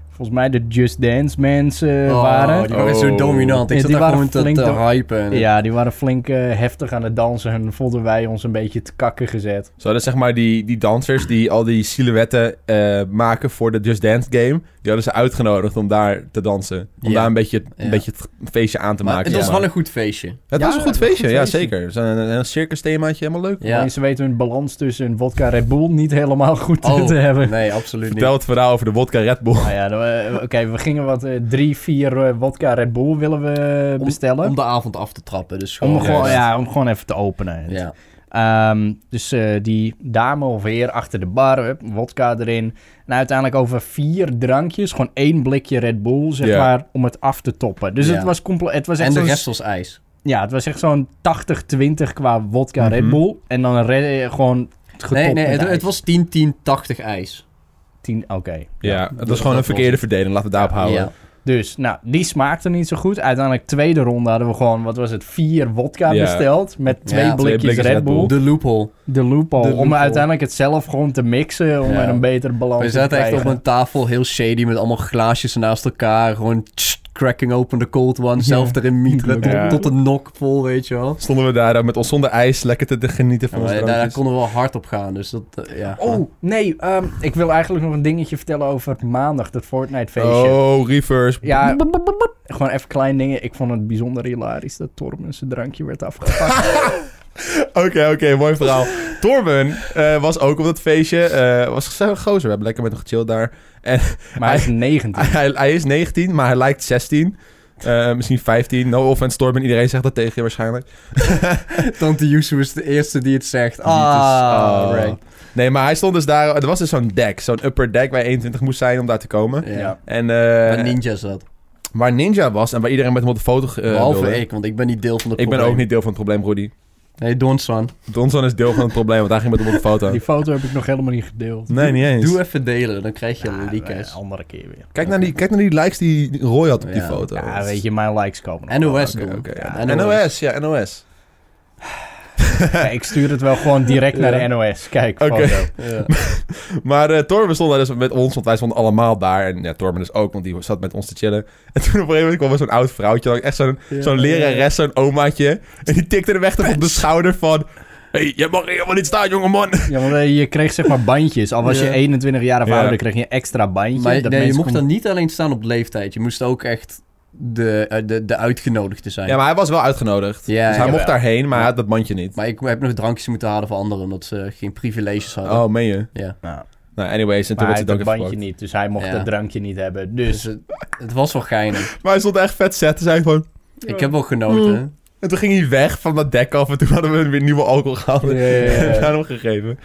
S2: volgens mij, de Just Dance mensen eh,
S3: Oh,
S2: waren.
S3: Die waren echt
S1: Oh.
S3: zo dominant. Ik
S2: Ja,
S3: zat
S2: die
S3: daar
S2: waren
S3: gewoon te,
S2: flink
S3: te
S2: dom-
S3: hypen. en-
S2: Ja, die waren flink eh, heftig aan het dansen en voelden wij ons een beetje te kakken gezet.
S1: Zo, dat zeg maar die, die dansers die al die silhouetten eh, maken voor de Just Dance game. Die hadden ze uitgenodigd om daar te dansen. Om
S3: Ja.
S1: daar een beetje, een
S3: Ja.
S1: beetje het feestje aan te
S3: Maar
S1: maken.
S3: het was
S1: zeg
S3: wel
S1: maar.
S3: een goed feestje.
S1: Het
S2: Ja,
S1: was een goed
S2: het was een
S1: feestje,
S2: goed
S1: ja
S2: feestje.
S1: zeker. Zo'n een, een circus themaatje, helemaal leuk.
S3: Ja.
S2: Alleen ze weten hun balans tussen hun vodka en Red Bull niet helemaal goed eh,
S3: Oh,
S2: te hebben.
S3: Nee, absoluut
S1: Vertel het verhaal over de wodka Red Bull.
S2: Nou ja, dan, eh, oké, we gingen wat eh, drie, vier eh, vodka Red Bull willen we eh,
S3: Om-
S2: bestellen.
S3: niet. Om
S2: Om,
S3: de avond af te trappen. Dus
S1: om
S2: gewoon,
S1: juist.
S2: ja, om gewoon even te openen.
S3: Ja.
S2: Ehm, dus eh, die dame of heer achter de bar, hup, wodka erin. En uiteindelijk over vier drankjes, gewoon één blikje Red Bull, zeg
S1: Ja.
S2: maar, om het af te toppen. Dus
S3: Ja.
S2: het was compleet. Het was echt
S3: En de
S2: zo'n-
S3: rest was ijs.
S2: Ja, het was echt zo'n 80-20 qua wodka
S1: Mhm.
S2: Red Bull. En dan re- eh, gewoon getopt
S3: Nee, nee,
S2: met
S3: het, het
S2: ijs.
S3: was 10, 10, 80 ijs.
S2: Tien, oké.
S1: Ja, het
S3: dat
S1: was
S3: was
S1: gewoon een
S3: wel
S1: verkeerde verdeling. Laten we het daarop houden.
S3: Ja.
S2: Dus, nou, die smaakte niet zo goed. Uiteindelijk tweede ronde hadden we gewoon, wat was het, vier wodka
S1: Ja.
S2: besteld. Met twee
S3: Ja, twee
S2: blikjes, Red, Bull.
S3: De loophole.
S2: De loophole.
S3: De
S2: Om
S3: loophole.
S2: uiteindelijk het zelf gewoon te mixen, om
S3: Ja.
S2: er een beter balans
S3: We
S2: in te
S3: zaten echt
S2: krijgen.
S3: op een tafel, heel shady, met allemaal glaasjes naast elkaar. Gewoon tss, cracking open the cold one, zelf erin mieteren,
S1: Ja.
S3: tot, tot een nok vol, weet je wel.
S1: Stonden we daar dan met ons zonder ijs lekker te, te genieten van
S3: Ja,
S1: ons
S3: maar daar, daar
S1: drankjes.
S3: konden we wel hard op gaan, dus dat, eh, ja.
S2: Oh, nee, ehm, ik wil eigenlijk nog een dingetje vertellen over maandag, dat Fortnite feestje.
S1: Oh, reverse.
S2: Ja, gewoon even klein dingen. Ik vond het bijzonder hilarisch dat Torben zijn drankje werd afgepakt.
S1: Oké, oké, mooi verhaal. Torben eh, was ook op dat feestje. eh was een gezellige gozer. We hebben lekker met hem gechilled daar.
S2: maar hij is 19.
S1: Hij, hij is 19, maar hij lijkt 16. Eh, misschien 15. No offense, Torben. Iedereen zegt dat tegen je waarschijnlijk.
S3: Tante Yusu is de eerste die het zegt.
S1: Ah,
S3: Ah,
S1: oh.
S3: right.
S1: Nee, maar hij stond dus daar. Er was dus zo'n deck. Zo'n upper deck waar je 21 moest zijn om daar te komen.
S3: Ja.
S2: Ja.
S1: En eh,
S3: Maar ninja zat.
S1: waar Ninja was en waar iedereen met hem op de foto eh,
S3: Behalve
S1: wilde.
S3: ik, want ik ben niet deel van het
S1: Ik ben
S3: probleem.
S1: ook niet deel van het probleem, Rudy.
S3: Nee, don't, son.
S1: Donson is deel van het probleem, want hij ging met hem op de foto.
S2: Die foto heb ik nog helemaal niet gedeeld.
S1: Nee, niet eens.
S3: Doe even delen, dan krijg je
S2: Ja,
S3: een
S2: eh,
S3: leakers.
S2: andere keer weer.
S1: Kijk naar, die, kijk naar die likes die die Roy had op die
S3: Ja.
S1: foto.
S2: Ja, weet je, mijn likes komen nog. wel.
S3: NOS
S1: Oké,
S3: doen.
S1: oké,
S3: Ja,
S1: ja. NOS, ja, NOS.
S2: Ja, ik stuur het wel gewoon direct naar de NOS. Kijk,
S1: Oké.
S2: foto.
S3: Ja.
S1: Maar eh Torben stond daar dus met ons, want wij stonden allemaal daar. En ja, Torben dus ook, want die zat met ons te chillen. En toen op een gegeven moment kwam er zo'n oud vrouwtje, echt zo'n
S3: Ja.
S1: zo'n lerares, zo'n omaatje. En die tikte hem echt even op de schouder van... hey, jij mag hier helemaal niet staan, jongeman.
S2: Ja, want eh, je kreeg zeg maar bandjes. Al was je
S3: Ja.
S2: 21 jaar of
S1: Ja.
S2: ouder, kreeg je een extra bandje.
S3: Maar
S2: dat
S3: nee, je
S2: mensen
S3: mocht
S2: konden-
S3: dan niet alleen staan op leeftijd. Je moest ook echt de, eh, de, de uitgenodigde zijn.
S1: Ja, maar hij was wel uitgenodigd.
S3: Ja,
S1: dus hij
S3: jawel.
S1: mocht daarheen, maar hij had dat mandje niet.
S3: Maar ik heb nog drankjes moeten halen voor anderen, omdat ze geen privileges hadden.
S1: Oh, meen je?
S3: Ja.
S2: Nou,
S1: Nou, anyways, en toen werd hij
S2: maar hij
S1: het
S2: had
S1: ook
S2: dat
S1: even
S2: bandje
S1: gepakt.
S2: niet, dus hij mocht
S3: Ja.
S2: dat drankje niet hebben.
S3: Dus
S2: Dus
S3: het, het was wel geinig.
S1: Maar hij stond echt vet zet te zijn van...
S3: Ik heb wel genoten.
S1: En toen ging hij weg van dat dek af en toen hadden we weer nieuwe alcohol gehaald.
S2: Ja, ja, ja.
S1: En aan hem gegeven.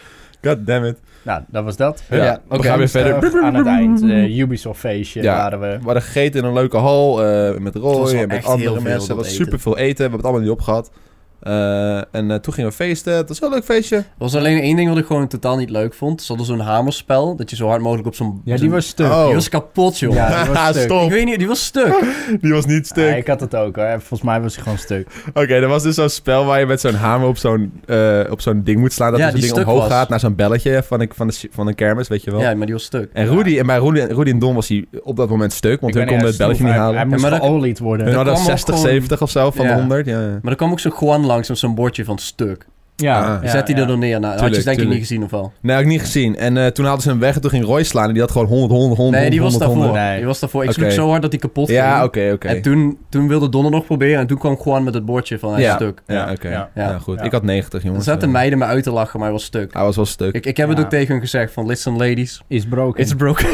S1: God damn it.
S2: eh, nou, dat was dat.
S1: Ja, we gaan weer verder.
S2: Zelf Aan het eind, eh, Ubisoft feestje
S1: Ja.
S2: waren we.
S1: We hadden gegeten in een leuke hal eh, met
S3: Het was
S1: Roy
S3: wel
S1: en met
S3: echt
S1: andere
S3: heel veel
S1: mensen. Er
S3: dat
S1: was
S3: eten.
S1: super veel eten. We hebben het allemaal niet opgehad. Eh, en eh, toen gingen we feesten. Het was wel een leuk feestje.
S3: Er was alleen één ding wat ik gewoon totaal niet leuk vond. Ze hadden zo'n hamerspel, dat je zo hard mogelijk op zo'n...
S2: Ja, die
S3: zo'n-
S2: was stuk.
S1: Oh.
S3: die was kapot, joh.
S2: Ja, die was stuk.
S3: Ik
S1: Stop.
S3: weet niet, die was stuk.
S1: Die was niet stuk.
S2: Ja, ik had het ook hoor. Volgens mij was hij gewoon stuk.
S1: Oké, er was dus zo'n spel waar je met zo'n hamer op zo'n, eh, op zo'n ding moet slaan. Dat
S3: Ja,
S1: dus het
S3: die
S1: ding
S3: stuk
S1: omhoog
S3: was.
S1: gaat naar zo'n belletje van een, van, de, van een kermis, weet je wel.
S3: Ja, maar die was suk.
S1: En Rudy, en bij Rudy, Rudy en Don was hij op dat moment stuk, want
S2: Ik
S1: hun
S2: ben
S1: konden het
S2: echt
S1: belletje
S2: stroef.
S1: niet
S2: Hij-
S1: halen.
S2: Hij moest
S3: maar dat-
S2: geolied
S1: Hun
S2: worden.
S3: dat
S1: hadden
S3: kwam ook
S1: 60,
S3: gewoon-
S1: 70 of zo van de
S3: Ja.
S1: 100. Ja, ja.
S3: Maar er kwam ook zo'n Juan langs met zo'n bordje van stuk.
S1: Ah.
S2: Ja, ja,
S3: Zet die
S2: ja.
S3: er dan neer. Nou, had je
S1: Tuurlijk,
S3: het denk ik
S1: tuurlijk.
S3: niet gezien of wel?
S1: Nee, heb ik niet gezien. En eh, toen haalden ze hem weg en toen ging Roy slaan en die had gewoon 100, 100, 100,
S3: Nee, die was
S1: 100, 100.
S3: daarvoor.
S2: Nee.
S3: Die was daarvoor. Ik sloeg
S1: Oké.
S3: zo hard dat hij kapot ging.
S1: Ja, oké, oké.
S3: En toen, toen wilde Donner nog proberen en toen kwam Juan met het bordje van hij is
S1: Ja.
S3: stuk.
S1: Ja, oké.
S2: Ja.
S1: Ja,
S3: Ja.
S1: goed.
S2: Ja.
S1: Ik had 90,
S3: Er
S1: jongens. Ah,
S3: zaten
S1: Eh,
S3: meiden me uit te lachen, maar hij was stuk.
S1: Hij was wel stuk.
S3: Ik, ik heb het
S2: Ja.
S3: ook tegen hun gezegd van, listen ladies,
S2: Is broken.
S3: it's broken.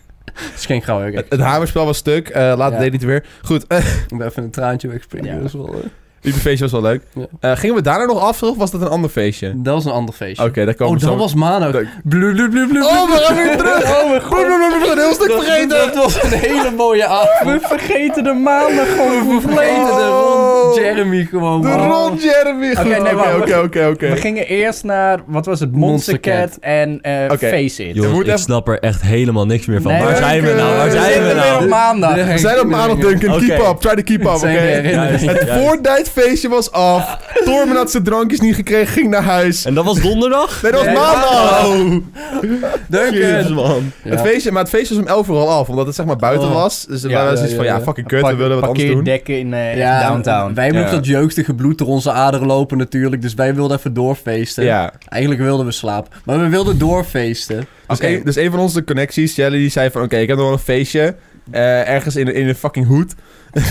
S3: Het is geen grauw, ik
S1: Het, het hamerspel was stuk. eh laat het
S3: Ja.
S1: deed niet weer. Goed.
S3: ik moet even een traantje wegspringen.
S2: Ja.
S3: dat is wel, eh.
S1: Uberfeestje was wel leuk.
S3: Ja.
S1: Eh, gingen we daarna nog af of was dat een ander feestje?
S3: Dat was een ander feestje.
S1: Oké, daar komen
S3: Oh,
S1: we zo...
S3: dat was Mano.
S1: Dat-
S3: Blub, blub, blub, blub,
S1: Oh, we
S3: blub.
S1: gaan weer terug!
S3: Oh mijn
S1: Blub, blub, blub, blub, een heel stuk
S3: Dat-
S1: vergeten!
S3: Dat was een hele mooie avond.
S2: We vergeten de maandag gewoon
S3: We vergeten de
S1: Oh.
S3: Ron Jeremy gewoon.
S1: De
S3: man.
S1: Ron Jeremy!
S2: Oké, nee,
S1: Goed,
S2: wacht,
S1: Oké,
S2: wacht.
S1: oké, oké, oké.
S2: We gingen eerst naar, wat was het, Monster,
S3: Monster
S2: Cat,
S3: Cat.
S2: en eh
S1: Oké.
S2: Face It.
S1: Er
S4: Jongens,
S1: moet
S4: ik
S1: even-
S4: snap er echt helemaal niks meer van.
S2: Nee,
S4: Waar zijn we nou? Waar
S1: we
S4: zijn we
S2: zitten weer
S4: nou?
S2: op maandag.
S3: De- de
S1: We zijn op maandag, Duncan.
S4: Oké.
S1: Keep up. Try to keep up,
S3: Het
S1: oké?
S3: zijn de herinneringen.
S4: Juist,
S1: Het
S4: juist.
S1: Fortnite-feestje was af. Tormen had zijn drankjes niet gekregen, ging naar huis.
S4: En dat was donderdag?
S1: Nee, dat was
S3: Nee,
S1: maandag!
S3: Duncan.
S4: Jezus, man.
S3: Ja.
S1: Het feestje, maar het feestje was om 11 uur al af, omdat het zeg maar buiten
S3: Oh.
S1: was. Dus we
S2: Ja,
S1: waren
S3: ja,
S1: zoiets van,
S3: ja,
S1: ja,
S3: ja.
S1: fucking kut, we willen wat anders doen.
S2: Parkeerdekken in eh,
S3: Ja,
S2: downtown.
S3: Wij hebben
S1: Ja.
S3: ook dat jeugdige bloed door onze aderen lopen natuurlijk. Dus wij wilden even doorfeesten.
S1: Ja,
S3: Eigenlijk wilden we slapen. Maar we wilden doorfeesten.
S1: dus,
S2: Oké.
S1: een, dus een van onze connecties, Jelly, die zei van... Oké, ik heb nog wel een feestje. eh, ergens in, in een fucking hoed.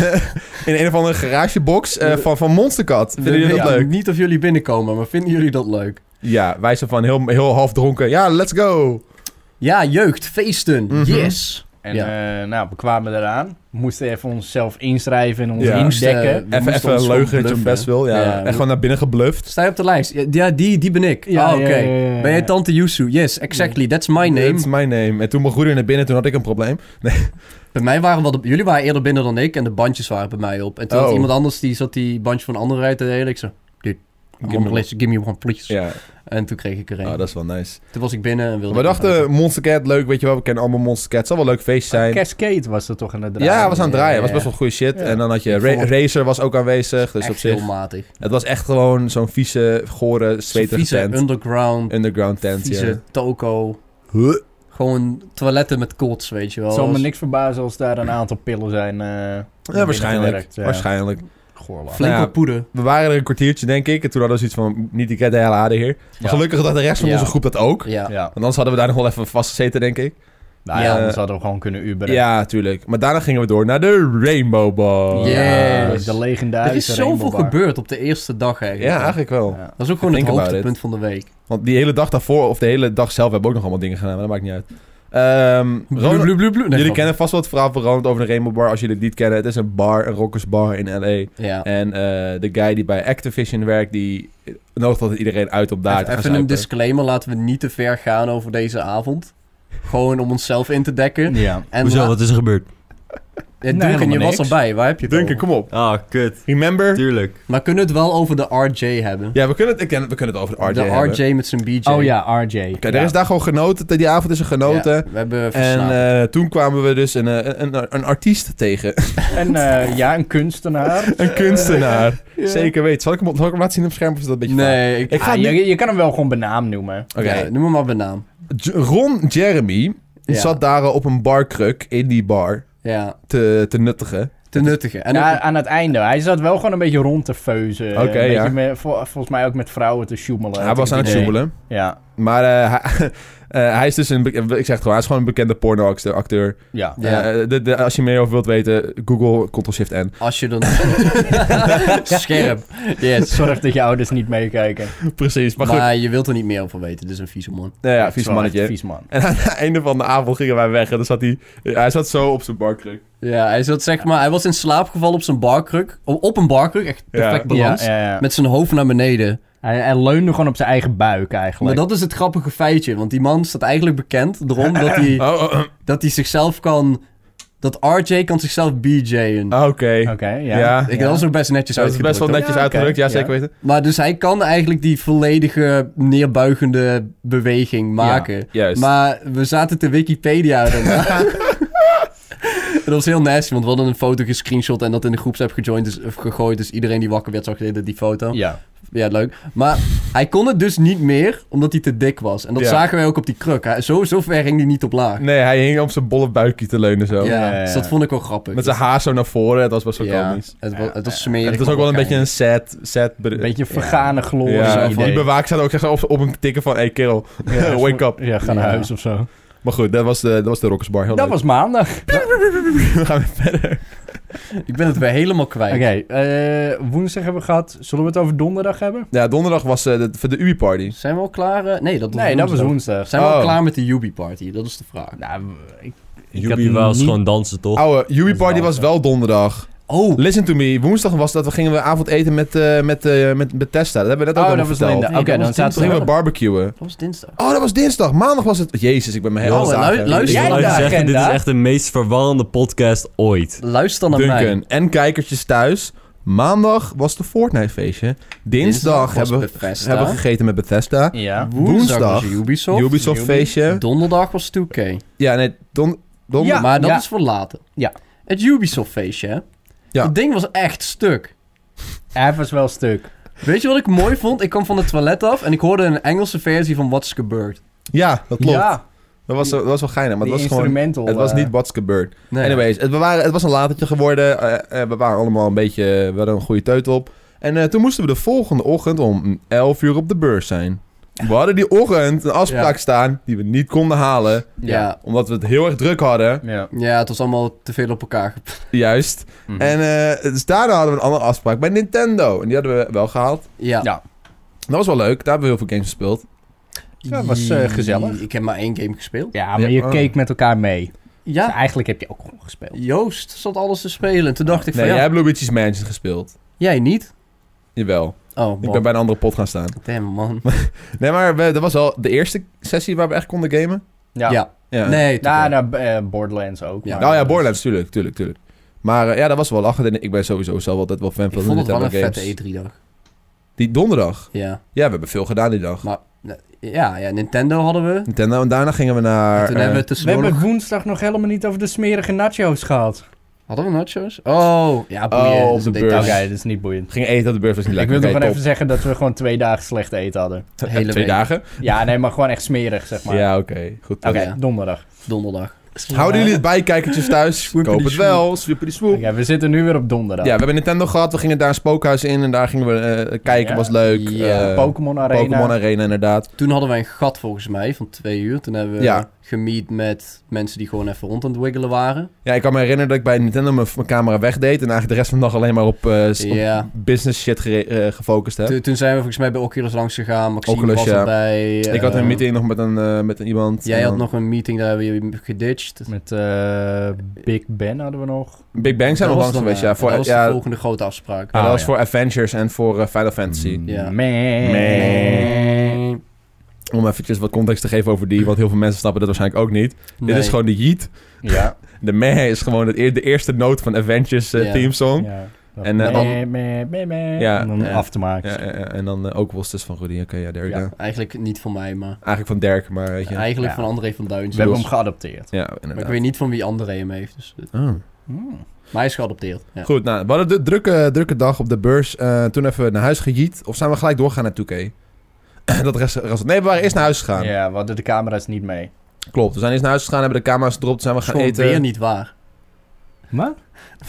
S1: in een of andere garagebox eh, van, van Monstercat. Vinden
S3: We
S1: jullie dat
S3: weten
S1: leuk?
S3: Niet of jullie binnenkomen, maar vinden jullie dat leuk?
S1: Ja, wij zijn van heel, heel half dronken. Ja, let's go!
S3: Ja, jeugd, feesten.
S1: Mhm.
S3: Yes.
S2: En eh, nou, we kwamen eraan. We moesten even onszelf inschrijven en ons
S1: Ja.
S2: indekken.
S3: Moesten- We
S1: Even, even
S3: ons
S1: een
S3: gewoon
S1: leugen dat je
S3: bluffen.
S1: best wil. Ja.
S3: Ja,
S1: en
S3: we-
S1: gewoon naar binnen gebluft.
S3: Sta je op de lijst? Ja, die- Ja, die, die ben ik.
S2: Ja,
S3: ah,
S1: Oh,
S3: oké.
S2: ja, ja, ja, ja.
S3: Ben jij tante Yusu? Yes, exactly. That's my name.
S1: That's my name. En toen mocht Roeder naar binnen, toen had ik een probleem.
S3: Bij mij waren wel de- jullie waren eerder binnen dan ik en de bandjes waren bij mij op. En toen
S1: Oh.
S3: had iemand anders, die zat die bandje van een andere uit te delen. Ik zo, "Oh, dude,
S1: Give
S3: give,
S1: me
S3: me place, give me one please.
S1: Ja,
S3: En toen kreeg ik er een.
S1: oh, dat is eh, wel nice.
S3: Toen was ik binnen en wilde
S1: We
S3: ik nog
S1: dachten,
S3: even-
S1: Monster Cat, leuk, weet je wel, we kennen allemaal Monster Cat. Het zal wel een leuk feest
S3: Ah,
S1: zijn.
S2: Cascade was er toch aan het draaien.
S1: Ja, was aan het draaien.
S3: Ja,
S1: was
S3: ja.
S1: best wel goede shit.
S2: Ja.
S1: En dan had je
S3: Ik
S1: Ra-
S3: vond-
S1: Racer was ook aanwezig. Dus
S3: echt
S1: op zich.
S3: heel matig.
S1: Het was echt gewoon zo'n vieze, gore,
S3: Zo'n
S1: zweterige
S3: Vieze
S1: tent.
S3: underground,
S1: underground tent,
S3: vieze
S1: ja.
S3: toko.
S1: Huh?
S3: Gewoon toiletten met kots, weet je wel.
S2: Het zal me
S3: Was
S2: niks verbazen als daar een aantal pillen zijn. eh
S1: Ja, waarschijnlijk.
S2: binnengewerkt, ja.
S1: Waarschijnlijk.
S2: Goorland.
S3: Flink
S1: Nou ja.
S3: wat poeder.
S1: We waren er een kwartiertje, denk ik. En toen hadden we zoiets van, niet ik red de hele aarde hier.
S2: Ja.
S1: Maar gelukkig dat de rest van
S3: Ja.
S1: onze groep dat ook. Want
S3: Ja.
S2: Ja.
S1: anders hadden we daar nog wel even vastgezeten, denk ik.
S2: Nou
S3: Ja.
S2: ja, anders hadden we gewoon kunnen uberen.
S1: Ja, tuurlijk. Maar daarna gingen we door naar de Rainbow Bar.
S2: Ja,
S3: Yes.
S2: De
S3: Er is
S2: legendarische
S3: zoveel
S2: Rainbow Bar.
S3: gebeurd op de eerste dag eigenlijk.
S1: Ja, eigenlijk wel.
S2: Ja.
S3: Dat is ook gewoon
S1: Think
S3: het
S1: about
S3: hoogtepunt van de week.
S1: Want die hele dag daarvoor, of de hele dag zelf, hebben we ook nog allemaal dingen gedaan. Maar dat maakt niet uit. Ehm, Ronald-
S3: Blub, blub, blub. Nee,
S1: jullie
S3: grapje.
S1: kennen vast wel het verhaal van Ronald over de Rainbow Bar. Als jullie het niet kennen, het is een bar, een rockersbar in L.A.
S3: Ja.
S1: En eh, de guy die bij Activision werkt, die nodigt altijd iedereen uit om daar te
S3: even
S1: gaan
S3: even een
S1: zuipen.
S3: disclaimer, laten we niet te ver gaan over deze avond. Gewoon om onszelf in te dekken.
S2: Ja.
S3: En
S4: Hoezo,
S3: la-
S4: wat is er gebeurd?
S3: Ja,
S2: Nee,
S3: Duncan, je
S2: helemaal
S3: was
S2: niks.
S3: erbij, waar heb je het
S1: Duncan,
S3: over?
S1: kom op.
S4: Ah, kut.
S1: Remember?
S4: Tuurlijk.
S3: Maar kunnen we het wel over de RJ hebben?
S1: Ja, we kunnen het, ik ken- we kunnen het over de RJ
S3: de
S1: hebben.
S3: RJ met zijn BJ.
S2: Oh ja, RJ.
S1: Oké, er is daar gewoon genoten. Die avond is er genoten.
S3: Ja, we hebben
S1: En
S3: verslaafd.
S1: eh, toen kwamen we dus een, eh, een, een, een artiest tegen.
S2: En eh, ja, een kunstenaar. Ah,
S1: een kunstenaar. Zeker weten. Zal ik, hem, zal ik hem laten zien op het scherm of is dat een beetje vaag?
S3: nee, ik...
S1: Ik ga
S2: Ah,
S1: nu-
S2: je, je kan hem wel gewoon benaam noemen.
S1: Oké.
S3: Ja, noem hem maar bij naam.
S1: J- Ron Jeremy die
S3: Ja.
S1: zat daar op een barkruk in die bar
S3: Ja,
S1: te, te nuttigen.
S3: te nuttige. En
S2: ja,
S3: ook-
S2: aan het einde. Hij zat wel gewoon een beetje rond te feuzen.
S1: Oké,
S2: een beetje
S1: ja.
S2: met- vol- volgens mij ook met vrouwen te sjoemelen.
S1: hij
S2: had
S1: was
S2: ik
S1: aan het
S2: idee.
S1: joemelen.
S2: Ja,
S1: Maar eh, hij, eh, hij is dus een... be- Ik zeg het gewoon, hij is gewoon een bekende pornoacteur. acteur.
S2: ja.
S3: Ja.
S1: Eh, de- de- als je meer over wilt weten, Google Ctrl-Shift-N.
S3: als je dan... Scherp. Yes.
S2: Zorg dat je ouders niet meekijken.
S1: Precies, maar
S3: Maar,
S1: goed.
S3: je wilt er niet meer over weten, dit is een vieze man.
S1: nou ja,
S2: Het is
S1: vies
S2: wel
S1: mannetje.
S2: echt Vies man.
S1: En aan het einde van de avond gingen wij weg. En dan zat hij... Hij zat zo op zijn barkruk.
S3: Ja, hij zat zeg maar... Hij was in slaap gevallen op zijn barkruk. o- Op een barkruk, echt perfect
S1: Ja.
S3: balans.
S2: Ja, ja, ja.
S3: Met zijn hoofd naar beneden.
S2: Hij, hij leunde gewoon op zijn eigen buik
S3: Maar
S2: eigenlijk.
S3: dat is het grappige feitje, want die man staat eigenlijk bekend erom dat hij,
S1: Oh, oh,
S3: dat hij zichzelf kan... Dat RJ kan zichzelf BJ'en.
S1: oh, oké.
S2: Oké, ja.
S1: Ja.
S3: Ik, dat is ook best netjes
S1: Dat is best wel
S3: uitgedrukt,
S1: netjes
S2: Ja, oké.
S1: uitgedrukt. Ja,
S2: Ja.
S1: zeker weten.
S3: hoor. Maar dus hij kan eigenlijk die volledige neerbuigende beweging maken.
S1: Juist.
S3: Maar we zaten te Wikipedia daarna. Dat was heel nasty, want we hadden een foto gescreenshot en dat in de groepsapp gejoined is, of gegooid. Dus iedereen die wakker werd zag eerder die foto. Ja.
S2: Ja.
S3: leuk. Maar hij kon het dus niet meer, omdat hij te dik was. En dat
S1: Ja.
S3: zagen wij ook op die kruk. Hij, zo, zo ver ging hij niet op laag.
S1: Nee, hij hing op zijn bolle buikje te leunen zo.
S3: ja,
S2: Ja, ja,
S3: dus
S2: ja.
S3: dat vond ik wel grappig.
S1: Met zijn haar zo naar voren. Het was best wel
S3: ja,
S1: komisch.
S3: Het was, het was
S1: En
S3: smerig.
S1: het was ook wel een beetje
S3: maar
S1: een sad... sad
S2: Een beetje vergane glorie
S1: ja,
S3: zo'n
S1: van die
S2: idee.
S1: bewaak staat ook echt op, op een tikken van... Hey, kerel, wake up.
S2: Ja, ga naar
S3: Ja.
S2: huis of zo.
S1: Maar goed, dat was de, dat was de Rockersbar. Heel
S2: Dat
S1: leuk.
S2: was maandag.
S1: We gaan weer verder.
S3: geinig. Ik ben het weer helemaal kwijt.
S2: Oké, eh, woensdag hebben we gehad. Zullen we het over donderdag hebben?
S1: Ja, donderdag was eh, de, voor de UI-party.
S3: Zijn we al klaar? eh? Nee, dat was
S2: Nee, dat was
S3: woensdag.
S2: woensdag.
S3: Zijn we
S1: Oh.
S3: al klaar met de Yubi party? Dat is de vraag.
S2: Nou, ik, ik had
S4: Jubi was
S2: niet-
S4: gewoon dansen, toch?
S1: Oude,
S2: Oh, Dat is
S1: UI-party was
S2: wel
S1: wel donderdag.
S3: Oh,
S1: Listen to me. Woensdag was dat. We gingen we avond eten met, eh met, eh met Bethesda. Dat hebben we net ook
S2: Oh,
S1: allemaal
S2: dat was
S1: verteld.
S2: Linda.
S3: Nee,
S2: Oké,
S3: dat
S2: dan
S3: was
S2: staat
S1: Toen
S2: er
S1: gingen we barbecuen.
S3: dat was dinsdag.
S1: Oh, dat was dinsdag. Maandag was het. Jezus, ik ben mijn hele
S3: Jongen,
S1: zaak-
S3: lu- luister-
S2: Jij
S4: Laat ik
S2: daar,
S4: zeggen, dit is
S2: Genda?
S4: echt de meest verwarrende podcast ooit.
S3: Luister naar mij.
S1: Duncan en kijkertjes thuis. Maandag was de Fortnite feestje. Dinsdag,
S3: was
S1: hebben, we,
S3: Bethesda.
S1: hebben we gegeten met Bethesda.
S2: Ja.
S3: Woensdag was
S1: Woensdag.
S3: Ubisoft.
S1: Ubisoft feestje.
S3: Donderdag was 2K.
S1: Ja, nee. Don, don,
S2: Ja.
S3: maar dat
S2: ja.
S3: is voor later.
S2: Ja.
S3: Het Ubisoft feestje, hè?
S1: Ja.
S3: Dat ding was echt stuk.
S2: Hij was wel stuk.
S3: Weet je wat ik mooi vond? Ik kwam van het toilet af en ik hoorde een Engelse versie van What's Gebeurd.
S1: ja dat klopt.
S2: Ja,
S1: Dat, was, dat was wel geinig. Maar
S2: die
S1: het was gewoon...
S2: instrumental.
S1: Het was
S2: eh,
S1: niet what's gebeurd.
S3: Nee.
S1: Anyways, het, we waren, het was een latertje geworden. Eh, eh, we waren allemaal een beetje... We hadden een goede teut op. En eh, toen moesten we de volgende ochtend om 11 uur op de beurs zijn. We hadden die ochtend een afspraak
S3: Ja.
S1: staan die we niet konden halen.
S3: Ja.
S1: Omdat we het heel erg druk hadden.
S2: Ja.
S3: ja, het was allemaal te veel op elkaar. gep-
S1: Juist.
S2: Mhm.
S1: En eh, dus daarna hadden we een andere afspraak bij Nintendo. En die hadden we wel gehaald.
S3: Ja.
S2: Ja.
S1: Dat was wel leuk. Daar hebben we heel veel games gespeeld.
S2: Ja, het was, eh, gezellig.
S3: Ik heb maar één game gespeeld.
S2: ja, maar
S1: Ja,
S2: je
S1: oh.
S2: keek met elkaar mee. Dus
S3: Ja,
S2: eigenlijk heb je ook gewoon gespeeld.
S3: Joost zat alles te spelen. En toen dacht
S1: nee,
S3: ik van
S1: jij
S3: ja,
S1: hebt Luigi's Mansion gespeeld.
S3: jij niet?
S1: Jawel.
S3: Oh,
S1: Ik ben
S3: man.
S1: bij een andere pot gaan staan.
S3: Damn, man.
S1: Nee, maar we, dat was wel de eerste sessie waar we echt konden gamen.
S3: Ja.
S1: Ja.
S3: Nee,
S2: Ja,
S3: nou,
S2: naar eh, Borderlands ook.
S3: Ja.
S2: maar-
S1: Nou ja, Borderlands, tuurlijk, tuurlijk, tuurlijk. Maar eh, ja, dat was wel lachen. En ik ben sowieso zelf altijd wel fan
S3: ik
S1: van
S3: vond het wel een
S1: Nintendo games.
S3: vette E3-dag.
S1: Die donderdag.
S3: Ja.
S1: Ja, we hebben veel gedaan die dag.
S3: Maar- Nou, Ja, ja, Nintendo hadden we. En
S1: Nintendo. En daarna gingen we naar...
S3: toen
S1: eh,
S3: hebben we
S2: We
S3: tussendoor
S2: hebben
S3: nog...
S2: het woensdag nog helemaal niet over de smerige nachos gehad.
S3: Hadden we nachos? Oh, ja, boeien.
S1: Oh,
S3: dat
S1: op
S3: is
S1: de
S3: een
S1: beurs.
S2: Oké,
S3: detail.
S2: dat is niet boeiend.
S1: gingen eten op de beurs. was niet
S2: ik
S1: lekker.
S2: wil nog
S1: Oké,
S2: gewoon even
S1: top.
S2: zeggen dat we gewoon twee dagen slecht eten hadden.
S3: Hele
S1: Twee
S3: week.
S1: dagen?
S2: Ja, nee, maar gewoon echt smerig, zeg maar.
S1: Ja, oké. Goed.
S2: Oké,
S3: Ja.
S2: donderdag.
S3: Donderdag.
S1: Houden jullie het bij, kijkertjes thuis?
S3: Swoopity
S1: Koop het
S3: swoop.
S1: wel. Swoopity swoop.
S2: Oké, we zitten nu weer op donderdag.
S1: Ja, we hebben Nintendo gehad. We gingen daar een spookhuis in en daar gingen we eh, kijken.
S2: Ja.
S1: Was leuk.
S3: Ja.
S1: Eh,
S2: Pokémon Arena.
S1: Pokémon Arena, inderdaad.
S3: Toen hadden wij een gat volgens mij van twee uur. Toen hebben we
S1: Ja.
S3: gemiet met mensen die gewoon even rond aan het wiggelen waren.
S1: Ja, ik kan me herinneren dat ik bij Nintendo mijn, mijn camera wegdeed. En eigenlijk de rest van de dag alleen maar op, eh, s- op
S3: Ja.
S1: business shit gere- eh, gefocust heb.
S3: Toen- toen zijn we volgens mij bij Oculus langs gegaan. Maxime
S1: Oculus,
S3: was
S1: ja.
S3: erbij.
S1: ik had
S3: eh,
S1: een meeting nog met een, eh, met een iemand.
S3: Jij
S1: En
S3: had
S1: dan-
S3: nog een meeting, daar hebben we geditcht.
S2: Met eh, Big Ben hadden we nog.
S1: Big Bang zijn we langs
S3: Dat was dan,
S1: geweest,
S3: eh,
S1: ja. Voor,
S3: dat was
S1: ja,
S3: de volgende grote afspraak.
S1: ja, dat
S2: Ah,
S1: was
S2: ja.
S1: voor Avengers en voor eh, Final Fantasy.
S3: Ja.
S2: Man.
S3: Nee.
S1: Om eventjes wat context te geven over die, want heel veel mensen snappen dat waarschijnlijk ook niet. Dit is gewoon de yeet.
S2: Ja.
S1: De meh is gewoon het eer- de eerste noot van Avengers eh
S3: Ja.
S1: themesong.
S2: ja.
S1: En, eh,
S2: Meh, meh, meh, meh.
S1: Ja, eh,
S2: Om hem
S3: ja.
S2: af te maken.
S1: Ja, ja, ja. en dan eh, ook Wostes van Rudy. Oké, ja, there you
S2: Ja.
S1: go.
S3: Eigenlijk niet van mij, maar
S1: Eigenlijk van Dirk, maar weet je.
S3: eigenlijk
S2: Ja.
S3: van André van Duin.
S2: We hebben hem
S3: Maar
S2: geadopteerd.
S1: Ja, inderdaad.
S3: ik weet niet van wie André hem heeft. Dus, eh,
S1: Oh.
S2: Hmm.
S3: maar hij is geadopteerd. Ja.
S1: Goed, nou, we hadden een drukke, drukke dag op de beurs. Eh, toen even naar huis gejiet. Of zijn we gelijk doorgegaan naar 2K? dat rest, rest- nee, we waren eerst naar huis gegaan.
S2: Ja, we hadden de camera's niet mee.
S1: Klopt, we zijn eerst naar huis gegaan, hebben de camera's gedropt, zijn we
S3: Dat is
S1: gaan
S3: gewoon
S1: eten.
S3: weer niet waar.
S2: Wat?